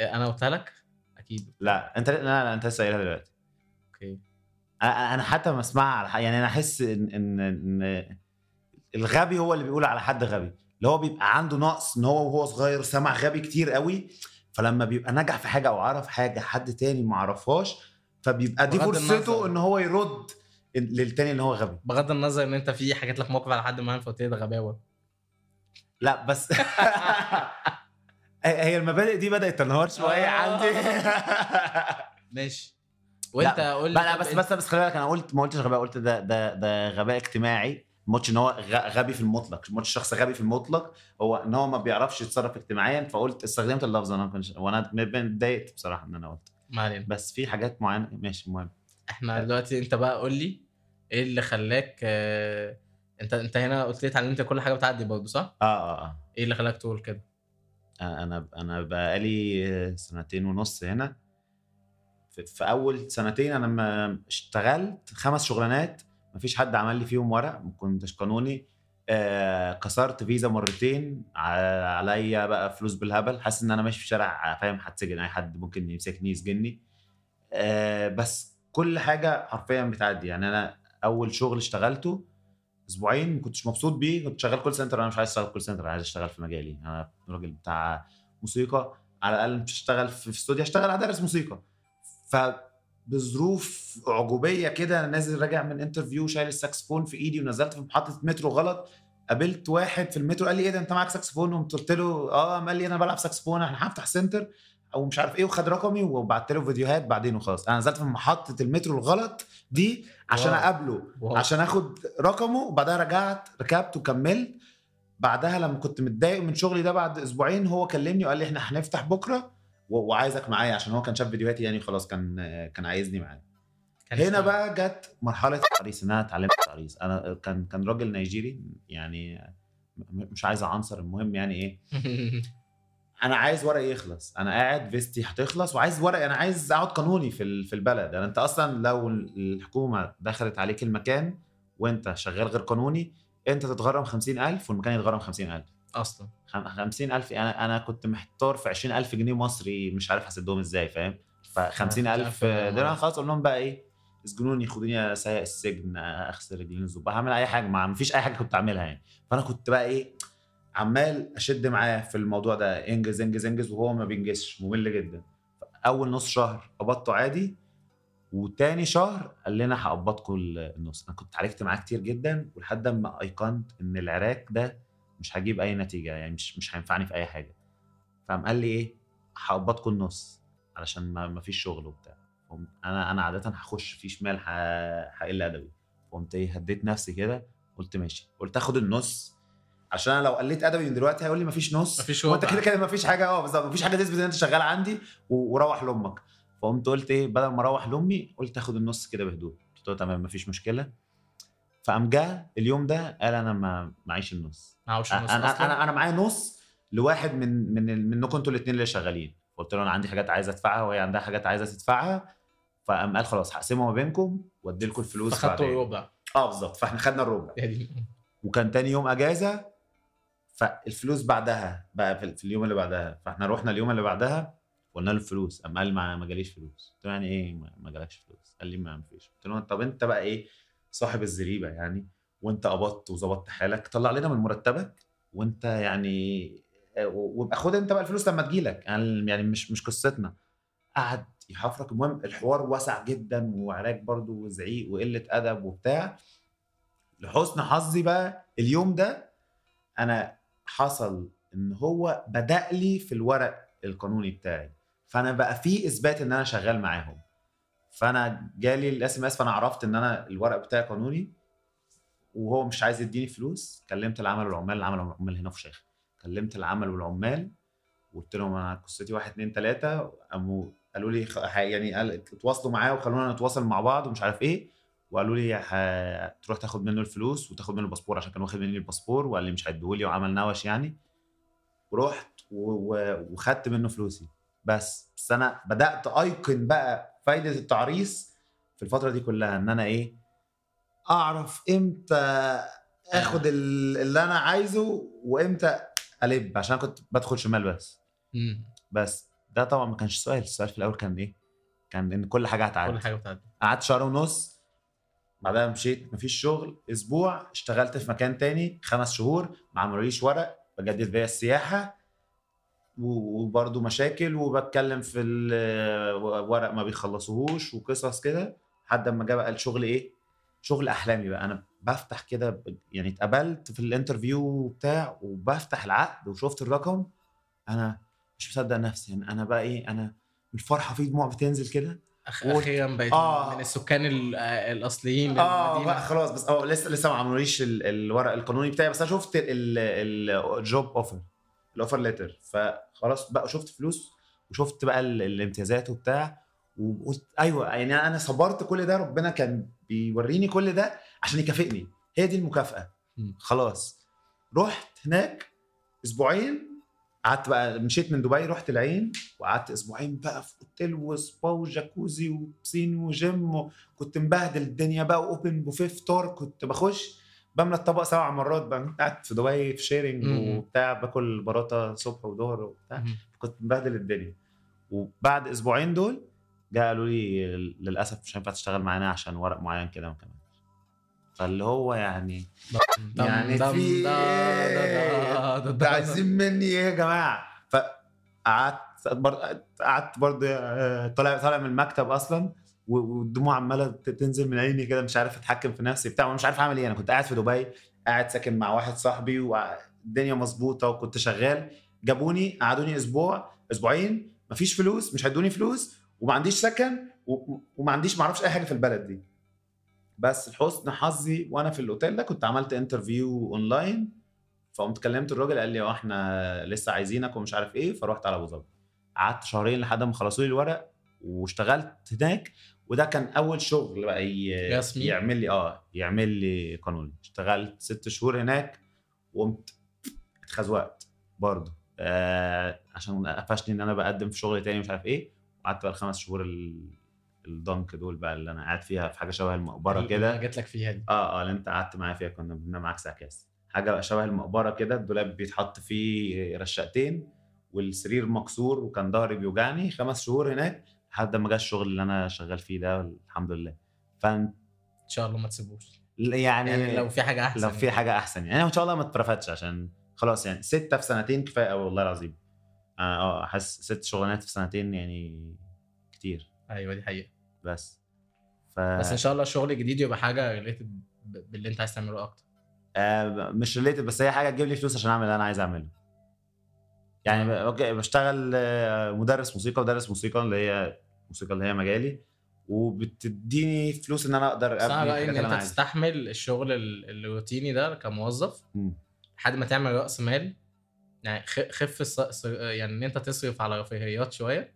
انا آه، قلتها لك اكيد لا انت لا لا انت لسه قايلها دلوقتي اوكي أ- أ- انا حتى ما اسمعها على حق يعني انا احس ان ان ان الغبي هو اللي بيقول على حد غبي اللي هو بيبقى عنده نقص ان هو وهو صغير سمع غبي كتير قوي فلما بيبقى نجح في حاجه او عرف حاجه حد تاني ما عرفهاش فبيبقى دي بغض فرصته النظر. ان هو يرد للتاني ان هو غبي بغض النظر ان انت في حكيت لك موقف على حد معين فقلت لي ده غباوه لا بس هي المبادئ دي بدات تنهار شويه آه. عندي ماشي وانت قول لي لا لا طب بس انت- بس بس خلي بالك انا قلت ما قلتش غباء قلت ده ده ده غباء اجتماعي ما قلتش ان هو غ- غبي في المطلق ما قلتش شخص غبي في المطلق هو ان هو ما بيعرفش يتصرف اجتماعيا فقلت استخدمت اللفظ انا ما كنتش وانا اتضايقت بصراحه ان انا قلت ما علينا بس في حاجات معينه ماشي المهم احنا آه. دلوقتي انت بقى قول لي ايه اللي خلاك اه انت انت هنا قلت لي اتعلمت كل حاجه بتعدي برضه صح؟ اه اه اه ايه اللي خلاك تقول كده؟ انا انا بقالي سنتين ونص هنا في- في اول سنتين انا ما اشتغلت خمس شغلانات مفيش حد عمل لي فيهم ورق ما كنتش قانوني آه كسرت فيزا مرتين ع- عليا بقى فلوس بالهبل حاسس ان انا ماشي في شارع فاهم هتسجن اي حد ممكن يمسكني يسجني آه بس كل حاجه حرفيا بتعدي يعني انا اول شغل اشتغلته اسبوعين ما كنتش مبسوط بيه كنت شغال كول سنتر انا مش عايز اشتغل كول سنتر انا عايز اشتغل في مجالي انا راجل بتاع موسيقى على الاقل مش هشتغل في في استوديو هشتغل على درس موسيقى فبظروف اعجوبيه كده انا نازل راجع من انترفيو شايل الساكسفون في ايدي ونزلت في محطه مترو غلط قابلت واحد في المترو قال لي ايه ده انت معاك ساكسفون قمت قلت له اه قال لي انا بلعب ساكسفون احنا هفتح سنتر او مش عارف ايه وخد رقمي وبعت له فيديوهات بعدين وخلاص انا نزلت في محطه المترو الغلط دي عشان واو. اقابله واو. عشان اخد رقمه وبعدها رجعت ركبت وكملت بعدها لما كنت متضايق من شغلي ده بعد اسبوعين هو كلمني وقال لي احنا هنفتح بكره و- وعايزك معايا عشان هو كان شاف فيديوهاتي يعني خلاص كان كان عايزني معاه كان هنا اسمه- إيه؟ بقى جت مرحله التعريس ان انا اتعلمت التعريس انا كان كان راجل نيجيري يعني م- مش عايز اعنصر المهم يعني ايه انا عايز ورقي يخلص انا قاعد فيستي هتخلص وعايز ورقي انا عايز اقعد قانوني في ال- في البلد يعني انت اصلا لو ال- الحكومه دخلت عليك المكان وانت شغال غير قانوني انت تتغرم 50000 والمكان يتغرم 50000 اصلا خم- 50000 انا انا كنت محتار في 20000 جنيه مصري مش عارف هسدهم ازاي فاهم ف 50000 دول خلاص اقول لهم بقى ايه اسجنوني خدوني سايق السجن اغسل رجلين الظباط هعمل اي حاجه ما مفيش اي حاجه كنت اعملها يعني فانا كنت بقى ايه عمال اشد معاه في الموضوع ده انجز انجز انجز وهو ما بينجزش ممل جدا اول نص شهر قبضته عادي وتاني شهر قال لنا هقبضكم النص انا كنت عرفت معاه كتير جدا ولحد ما ايقنت ان العراك ده مش هجيب اي نتيجه يعني مش مش هينفعني في اي حاجه فقام قال لي ايه هقبضكم النص علشان ما ما فيش شغل وبتاع قمت- انا انا عاده هخش في شمال ه- هقل ادبي قمت ايه هديت نفسي كده قلت ماشي قلت اخد النص عشان انا لو قلت ادبي من دلوقتي هيقول لي مفيش نص مفيش وانت ربع. كده كده مفيش حاجه اه بالظبط مفيش حاجه تثبت ان انت شغال عندي و- وروح لامك فقمت قلت ايه بدل ما اروح لامي قلت اخد النص كده بهدوء قلت له تمام مفيش مشكله فقام جه اليوم ده قال انا ما معيش النص معهوش انا نص انا اصلا انا, أنا معايا نص لواحد من من ال- منكم انتوا الاثنين اللي شغالين قلت له انا عندي حاجات عايز ادفعها وهي عندها حاجات عايزه تدفعها فقام قال خلاص هقسمها ما بينكم وادي لكم الفلوس فخدته بعدين ربع اه بالظبط فاحنا خدنا الربع يا دي وكان تاني يوم اجازه فالفلوس بعدها بقى في في اليوم اللي بعدها فاحنا رحنا اليوم اللي بعدها قلنا له الفلوس قام قال ما ما جاليش فلوس قلت له يعني ايه ما ما جالكش فلوس قال لي ما ما فيش قلت له طب انت بقى ايه صاحب الزريبه يعني وانت قبضت وظبطت حالك طلع لنا من مرتبك وانت يعني آه، و- وابقى خد انت بقى الفلوس لما تجيلك يعني يعني مش مش قصتنا قعد يحفرك المهم الحوار واسع جدا وعراك برضو وزعيق وقله ادب وبتاع لحسن حظي بقى اليوم ده انا حصل ان هو بدا لي في الورق القانوني بتاعي فانا بقى في اثبات ان انا شغال معاهم فانا جالي الاس ام اس فانا عرفت ان انا الورق بتاعي قانوني وهو مش عايز يديني فلوس كلمت العمل والعمال العمل والعمال هنا في شيخ كلمت العمل والعمال وقلت لهم انا قصتي واحد اتنين تلاته قاموا قالوا لي خ- ح- يعني قال- اتواصلوا معايا وخلونا نتواصل مع بعض ومش عارف ايه وقالوا لي هتروح تاخد منه الفلوس وتاخد منه الباسبور عشان كان واخد مني الباسبور وقال لي مش هيديهولي وعمل نوش يعني ورحت و- و- وخدت منه فلوسي بس بس انا بدات ايقن بقى فايده التعريس في الفتره دي كلها ان انا ايه اعرف امتى اخد ال- اللي انا عايزه وامتى الب عشان كنت بدخل شمال بس مم. بس ده طبعا ما كانش سؤال السؤال في الاول كان ايه كان ان كل حاجه هتعدي كل حاجه بتعدي قعدت شهر ونص بعدها مشيت مفيش شغل اسبوع اشتغلت في مكان تاني خمس شهور ما عملوليش ورق بجدد بيا السياحه و- وبرضه مشاكل وبتكلم في الورق ما بيخلصوهوش وقصص كده لحد اما جه بقى الشغل ايه شغل احلامي بقى انا بفتح كده ب- يعني اتقبلت في الانترفيو وبتاع وبفتح العقد وشفت الرقم انا مش مصدق نفسي يعني انا بقى ايه انا الفرحه في دموع بتنزل كده أخ- و- اخيرا بقيت آه. من السكان ال- آه، الاصليين اه للمدينة. بقى خلاص بس اه لسه لسه ما عملوليش ال- الورق القانوني بتاعي بس انا شفت الجوب اوفر الاوفر ليتر فخلاص بقى شفت فلوس وشفت بقى ال- الامتيازات وبتاع وقلت ايوه يعني انا صبرت كل ده ربنا كان بيوريني كل ده عشان يكافئني هي دي المكافاه مم. خلاص رحت هناك اسبوعين قعدت بقى مشيت من دبي رحت العين وقعدت اسبوعين بقى في اوتيل وسبا وجاكوزي وبسين وجيم و... كنت مبهدل الدنيا بقى واوبن بوفيه فطار كنت بخش بملى الطبق سبع مرات بقى كنت قاعد في دبي في شيرنج مم. وبتاع باكل براطه صبح وظهر وبتاع مم. كنت مبهدل الدنيا وبعد اسبوعين دول جاء قالوا لي للاسف مش هينفع تشتغل معانا عشان ورق معين كده ما كملش فاللي هو يعني يعني في إيه؟ ده عايزين مني ايه يا جماعه فقعدت بر- قعدت برضه آه، طالع طالع من المكتب اصلا و- والدموع عماله ت- تنزل من عيني كده مش عارف اتحكم في نفسي بتاع وانا مش عارف اعمل ايه انا كنت قاعد في دبي قاعد ساكن مع واحد صاحبي والدنيا مظبوطه وكنت شغال جابوني قعدوني اسبوع اسبوعين مفيش فلوس مش هيدوني فلوس وما عنديش سكن و- وما عنديش ما اعرفش اي حاجه في البلد دي بس لحسن حظي وانا في الاوتيل ده كنت عملت انترفيو اونلاين فقمت كلمت الراجل قال لي اه احنا لسه عايزينك ومش عارف ايه فرحت على ابو ظبي قعدت شهرين لحد ما خلصوا لي الورق واشتغلت هناك وده كان اول شغل بقى ي- رسمي. يعمل لي اه يعمل لي قانوني اشتغلت ست شهور هناك وقمت اتخزوقت برضه آه عشان قفشني ان انا بقدم في شغل تاني مش عارف ايه وقعدت بقى الخمس شهور ال- الضنك دول بقى اللي انا قاعد فيها في حاجه شبه أيوة. المقبره كده جات لك فيها دي اه اه اللي انت قعدت معايا فيها كنا بنبنى معاك سعكاس حاجه بقى شبه المقبره كده الدولاب بيتحط فيه رشاقتين والسرير مكسور وكان ظهري بيوجعني خمس شهور هناك لحد ما جه الشغل اللي انا شغال فيه ده الحمد لله فانت ان شاء الله ما تسيبوش يعني, يعني لو في حاجه احسن لو في حاجه احسن يعني أنا ان شاء الله ما اترفدش عشان خلاص يعني سته في سنتين كفايه قوي والله العظيم انا اه حاسس ست شغلانات في سنتين يعني كتير ايوه دي حقيقه بس ف بس ان شاء الله الشغل الجديد يبقى حاجه ريليتد باللي انت عايز تعمله اكتر آه مش ريليتد بس هي حاجه تجيب لي فلوس عشان اعمل اللي انا عايز اعمله يعني ب- اوكي بشتغل آه، مدرس موسيقى مدرس موسيقى اللي هي الموسيقى اللي هي مجالي وبتديني فلوس ان انا اقدر بس انا ابني رايي الحاجات ان اللي انا انت عايزها تستحمل الشغل ال- الروتيني ده كموظف مم. لحد ما تعمل راس مال يعني خ- خف الص- ص- يعني ان انت تصرف على رفاهيات شويه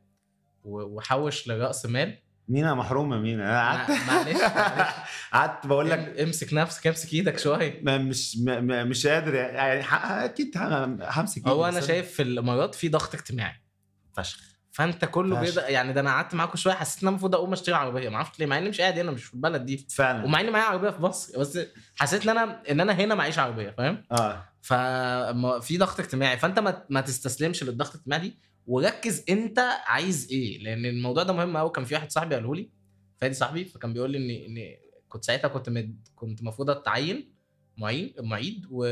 و- وحوش لراس مال مينا محرومه مينا انا قعدت مع- معلش معلش. قعدت بقول لك إم- امسك نفسك امسك ايدك شويه ما مش ما- ما- مش قادر يعني ح- اكيد ه- همسك يعني هو إيدي، انا بس شايف في الامارات في ضغط اجتماعي فشخ فانت كله فشخ. كده يعني ده انا قعدت معاكم شويه حسيت ان انا المفروض اقوم اشتري عربيه ما اعرفش ليه مع اني مش قاعد هنا مش في البلد دي فعلا ومع اني معايا عربيه في مصر بس حسيت ان انا ان انا هنا معيش عربيه فاهم اه ففي ضغط اجتماعي فانت ما, ما تستسلمش للضغط الاجتماعي دي وركز انت عايز ايه لان الموضوع ده مهم قوي كان في واحد صاحبي قاله لي فادي صاحبي فكان بيقول لي ان ان كنت ساعتها كنت مد كنت المفروض اتعين معين معيد و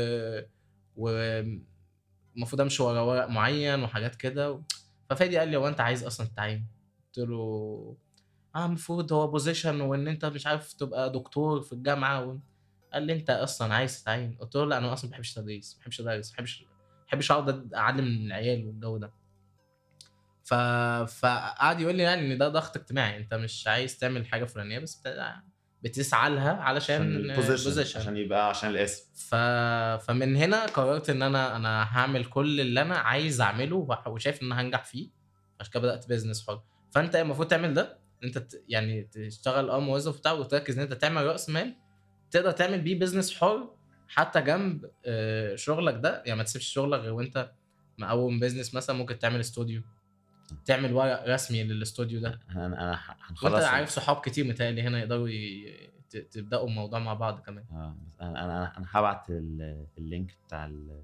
و المفروض امشي ورا ورق معين وحاجات كده و... ففادي قال لي هو انت عايز اصلا تتعين قلت له اه المفروض هو بوزيشن وان انت مش عارف تبقى دكتور في الجامعه و... قال لي انت اصلا عايز تتعين قلت له لا انا اصلا ما بحبش التدريس ما بحبش ادرس ما بحبش ما بحبش اقعد اعلم العيال والجو ده ف... فقعد يقول لي يعني ان ده ضغط اجتماعي انت مش عايز تعمل حاجه فلانيه بس بت... بتسعى لها علشان البوزيشن عشان يبقى عشان الاسم ف... فمن هنا قررت ان انا انا هعمل كل اللي انا عايز اعمله وح- وشايف ان انا هنجح فيه عشان كده بدات بيزنس حر فانت المفروض تعمل ده إن انت ت- يعني تشتغل اه موظف بتاع وتركز ان انت تعمل راس مال تقدر تعمل بيه بيزنس حر حتى جنب آه، شغلك ده يعني ما تسيبش شغلك غير وانت مقوم بيزنس مثلا ممكن تعمل استوديو تعمل ورق رسمي للاستوديو ده انا انا ح- وانت هنخلص عارف صحاب كتير متهيألي هنا يقدروا ي- ت- تبداوا الموضوع مع بعض كمان آه، بس انا انا انا هبعت ال- اللينك بتاع ال-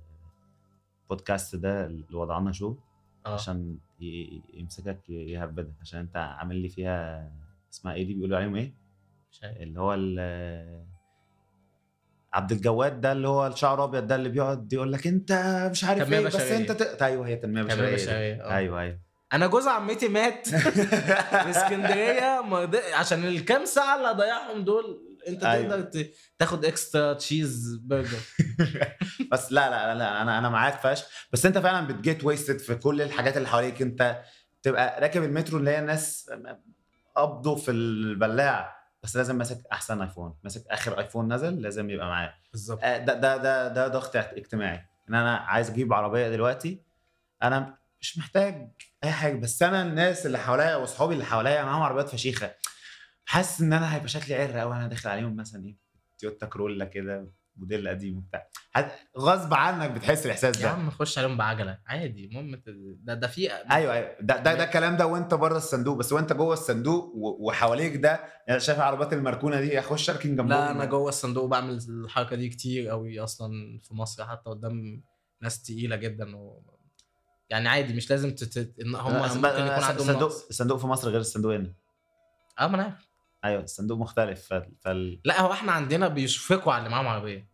البودكاست ده اللي وضعنا شو اه عشان ي- ي- يمسكك ي- يهبدك عشان انت عامل لي فيها اسمها ايه دي بيقولوا عليهم ايه مش عارف. اللي هو ال- عبد الجواد ده اللي هو الشعر ابيض ده اللي بيقعد يقول لك انت مش عارف تنمية ايه بس بشرية. انت تقطع ايوه هي تنميه بشريه تنمية دي. بشرية، آه. ايوه ايوه انا جوز عمتي مات في اسكندريه ما رضي- عشان الكام ساعه اللي هضيعهم دول انت أيوة. تقدر ت- تاخد اكسترا تشيز برجر بس لا لا لا انا انا معاك فشخ بس انت فعلا بتجيت ويستد في كل الحاجات اللي حواليك انت تبقى راكب المترو اللي هي الناس قبضه في البلاعه بس لازم ماسك احسن ايفون ماسك اخر ايفون نزل لازم يبقى معاه بالظبط آه، ده ده ده ده ضغط اجتماعي ان انا عايز اجيب عربيه دلوقتي انا مش محتاج اي حاجه بس انا الناس اللي حواليا واصحابي اللي حواليا معاهم عربيات فشيخه حاسس ان انا هيبقى شكلي عر قوي انا داخل عليهم مثلا ايه تويوتا كرولا كده موديل قديم وبتاع حد- غصب عنك بتحس الاحساس يا ده عم خش عليهم بعجله عادي المهم ت- ده ده في ايوه ايوه ده ده, ده الكلام ده وانت بره الصندوق بس وانت جوه الصندوق و- وحواليك ده يعني شايف العربيات المركونه دي اخش اركن جنبهم لا انا جوه الصندوق بعمل الحركه دي كتير قوي اصلا في مصر حتى قدام ناس تقيله جدا و... يعني عادي مش لازم تت... ان هم أنا- آه، ممكن يكون عندهم الصندوق نقص. الصندوق في مصر غير الصندوق هنا اه ما انا عارف ايوه الصندوق مختلف فال, فال... لا هو احنا عندنا بيشفقوا على اللي معاهم عربيه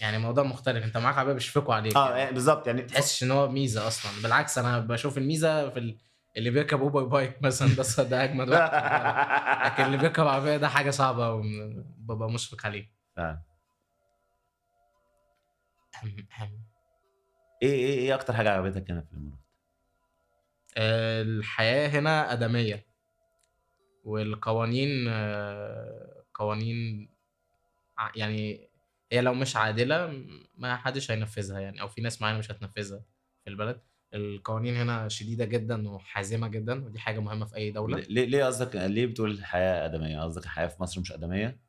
يعني موضوع مختلف انت معاك عربيه بيشفقوا عليك اه يعني. يعني بالظبط يعني ما تحسش ان هو ميزه اصلا بالعكس انا بشوف الميزه في ال... اللي بيركب اوبر بايك مثلا ده ده اجمد واحد لكن اللي بيركب عربيه ده حاجه صعبه وببقى مشفق عليه فعلا. أهم- أهم. ايه ايه ايه اكتر حاجه عجبتك هنا في الامارات؟ آه، الحياه هنا ادميه والقوانين آه، قوانين ع- يعني هي لو مش عادله ما حدش هينفذها يعني او في ناس معينه مش هتنفذها في البلد القوانين هنا شديده جدا وحازمه جدا ودي حاجه مهمه في اي دوله ليه ليه قصدك ليه بتقول الحياه ادميه؟ قصدك الحياه في مصر مش ادميه؟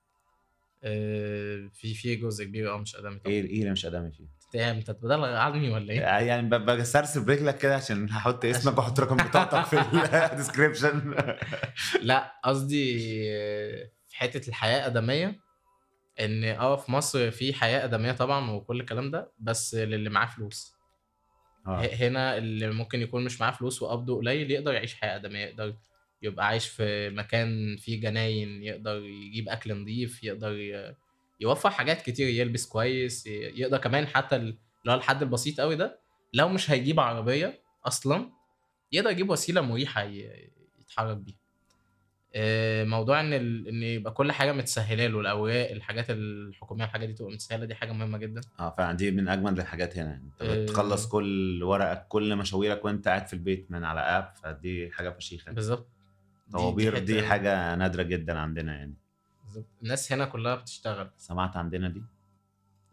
آه، في في جزء كبير اه مش ادمي طبعا ايه ايه اللي مش ادمي فيها؟ إيه، انت بتبلغ عني ولا ايه؟ يعني ب- بسرسب برجلك كده عشان هحط اسمك واحط رقم بطاقتك في الديسكربشن لا قصدي آه، في حته الحياه ادميه ان اه في مصر في حياه ادميه طبعا وكل الكلام ده بس للي معاه فلوس آه. ه- هنا اللي ممكن يكون مش معاه فلوس وقبضه قليل يقدر يعيش حياه ادميه يقدر يبقى عايش في مكان فيه جناين يقدر يجيب اكل نظيف يقدر ي- يوفر حاجات كتير يلبس كويس ي- يقدر كمان حتى ال- اللي هو الحد البسيط قوي ده لو مش هيجيب عربيه اصلا يقدر يجيب وسيله مريحه ي- يتحرك بيها آه، موضوع ان ال... ان يبقى كل حاجه متسهله له الاوراق الحاجات الحكوميه الحاجات دي تبقى متسهله دي حاجه مهمه جدا اه فعلا دي من اجمل الحاجات هنا انت آه. بتخلص كل ورقك كل مشاويرك وانت قاعد في البيت من على اب فدي حاجه فشيخه بالظبط دي- طوابير دي حتة- حاجه نادره جدا عندنا يعني بالظبط الناس هنا كلها بتشتغل سمعت عندنا دي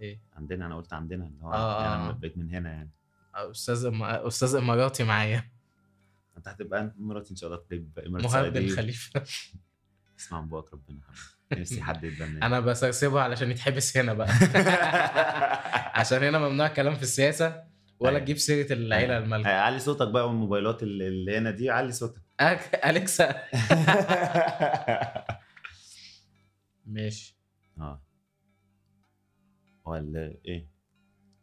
ايه عندنا انا قلت عندنا اللي هو آه، يعني آه. انا بقيت من هنا يعني استاذ إم... استاذ اماراتي معايا انت هتبقى أنت مراتي ان شاء الله تطلب امارات مهاب بن سعوديه خليفه اسمع من بوك ربنا حبيبي. نفسي حد يتبنى انا بسرسبها علشان يتحبس هنا بقى عشان هنا ممنوع الكلام في السياسه ولا أيوة. تجيب سيره العيله أيوه. المالكه إيه، علي صوتك بقى والموبايلات اللي- اللي هنا دي علي صوتك أك- اليكسا ماشي اه ولا ايه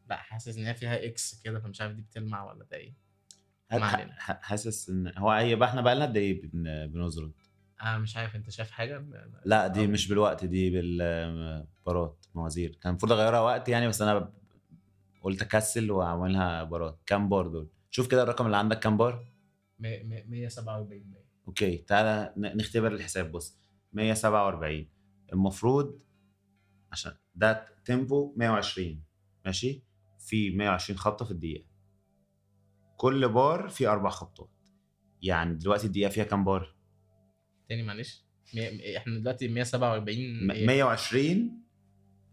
لا حاسس ان هي فيها اكس كده فمش عارف دي بتلمع ولا ده ايه ح- ما علينا. ح- حاسس ان هو اي بقى احنا بقى لنا قد ايه بن- بنزرد انا مش عارف انت شايف حاجه لا دي مش بالوقت دي بالبارات موازير كان المفروض اغيرها وقت يعني بس انا ب- قلت اكسل واعملها بارات كام بار دول شوف كده الرقم اللي عندك كام بار م- م- 147 باين. اوكي تعالى ن- نختبر الحساب بص 147 المفروض عشان ده تيمبو 120 ماشي في 120 خبطه في الدقيقه كل بار فيه اربع خبطات يعني دلوقتي الدقيقه فيها كام بار تاني معلش مية- مية- احنا دلوقتي 147 م- إيه؟ 120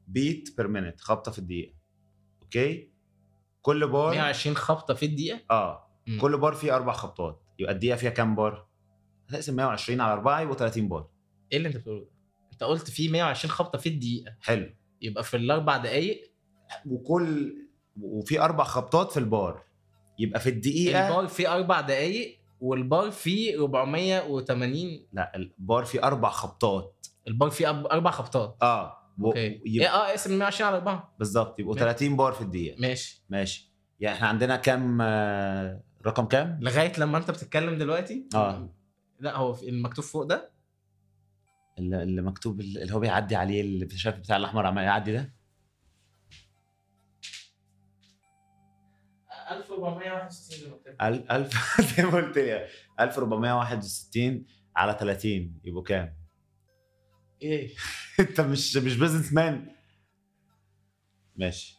بيت بير مينت خبطه في الدقيقه اوكي كل بار 120 خبطه في الدقيقه اه مم. كل بار فيه اربع خبطات يبقى الدقيقه فيها كام بار هتقسم 120 على 4 يبقى 30 بار ايه اللي انت بتقوله ده؟ انت قلت في 120 خبطه في الدقيقه حلو يبقى في الاربع دقائق وكل وفي اربع خبطات في البار يبقى في الدقيقه البار فيه اربع دقائق والبار فيه 480 لا البار فيه اربع خبطات البار فيه أب- اربع خبطات اه و- اوكي ايه يبقى اه اقسم 120 على 4 بالظبط يبقوا ماشي. 30 بار في الدقيقه ماشي ماشي يعني احنا عندنا كام آه، رقم كام لغايه لما انت بتتكلم دلوقتي آه. لا هو في المكتوب فوق ده اللي اللي مكتوب اللي هو بيعدي عليه اللي شايف بتاع الاحمر عمال يعدي ده 1461 زي ما قلت لك. 1000 زي ما قلت لي 1461 على 30 يبقوا كام ايه انت مش مش بزنس مان ماشي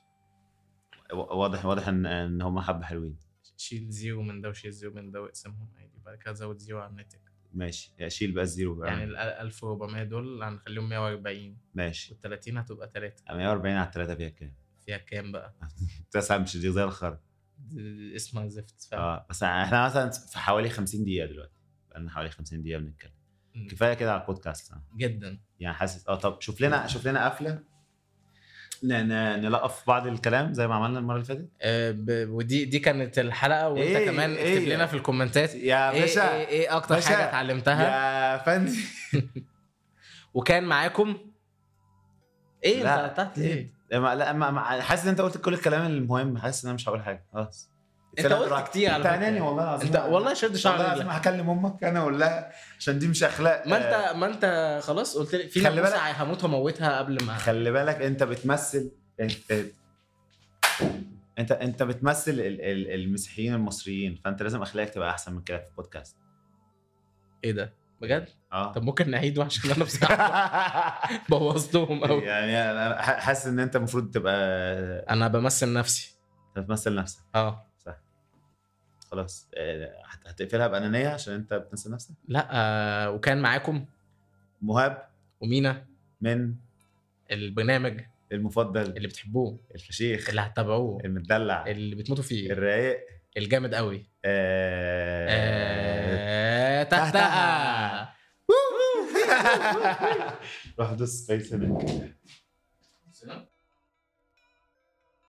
و- واضح واضح ان ان هم حبه حلوين شيل زيرو من ده وشيل زيرو من ده واقسمهم عادي بعد كده زود زيرو على الناتج ماشي يعني شيل بقى الزيرو بقى يعني ال 1400 دول هنخليهم 140 ماشي وال 30 هتبقى 3 140 على 3 فيها كام؟ فيها كام بقى؟ تسعة مش دي زي الخر د- اسمها زفت فعلا اه بس احنا مثلا في حوالي 50 دقيقة دلوقتي بقالنا حوالي 50 دقيقة بنتكلم مم. كفاية كده على البودكاست آه. جدا يعني حاسس اه طب شوف لنا شوف لنا قفلة ن- ن- نلقف بعض الكلام زي ما عملنا المرة اللي فاتت آه، ب- ودي دي كانت الحلقه وانت إيه، كمان اكتب إيه؟ لنا في الكومنتات ايه يا باشا ايه, إيه اكتر باشا. حاجه اتعلمتها يا فندم وكان معاكم ايه لا، انت قطعت إيه؟ ليه؟ ما- لا ما- ما- حاسس ان انت قلت كل الكلام المهم حاسس ان انا مش هقول حاجة خلاص انت اتكلمت قلت براحتك. كتير على انت عيناني فكره والله العظيم انت والله شد شعر والله العظيم رجلك هكلم امك انا اقول لها عشان دي مش اخلاق ما انت ما انت خلاص قلت لي في آه. خلي ناموسه بالك. هموت واموتها قبل ما خلي بالك انت بتمثل انت انت, انت بتمثل ال- ال- المسيحيين المصريين فانت لازم اخلاقك تبقى احسن من كده في البودكاست ايه ده بجد اه طب ممكن نعيده عشان انا بصراحه بوظتهم قوي يعني انا ح- حاسس ان انت المفروض تبقى انا بمثل نفسي بتمثل نفسك اه خلاص آه، هت- هتقفلها بانانيه عشان انت بتمثل نفسك لا آه وكان معاكم مهاب ومينا من البرنامج المفضل اللي بتحبوه الفشيخ اللي هتتابعوه إيه. المدلع اللي بتموتوا فيه الرايق الجامد قوي آه، آه، تحتها روح دوس سبيس هناك سلام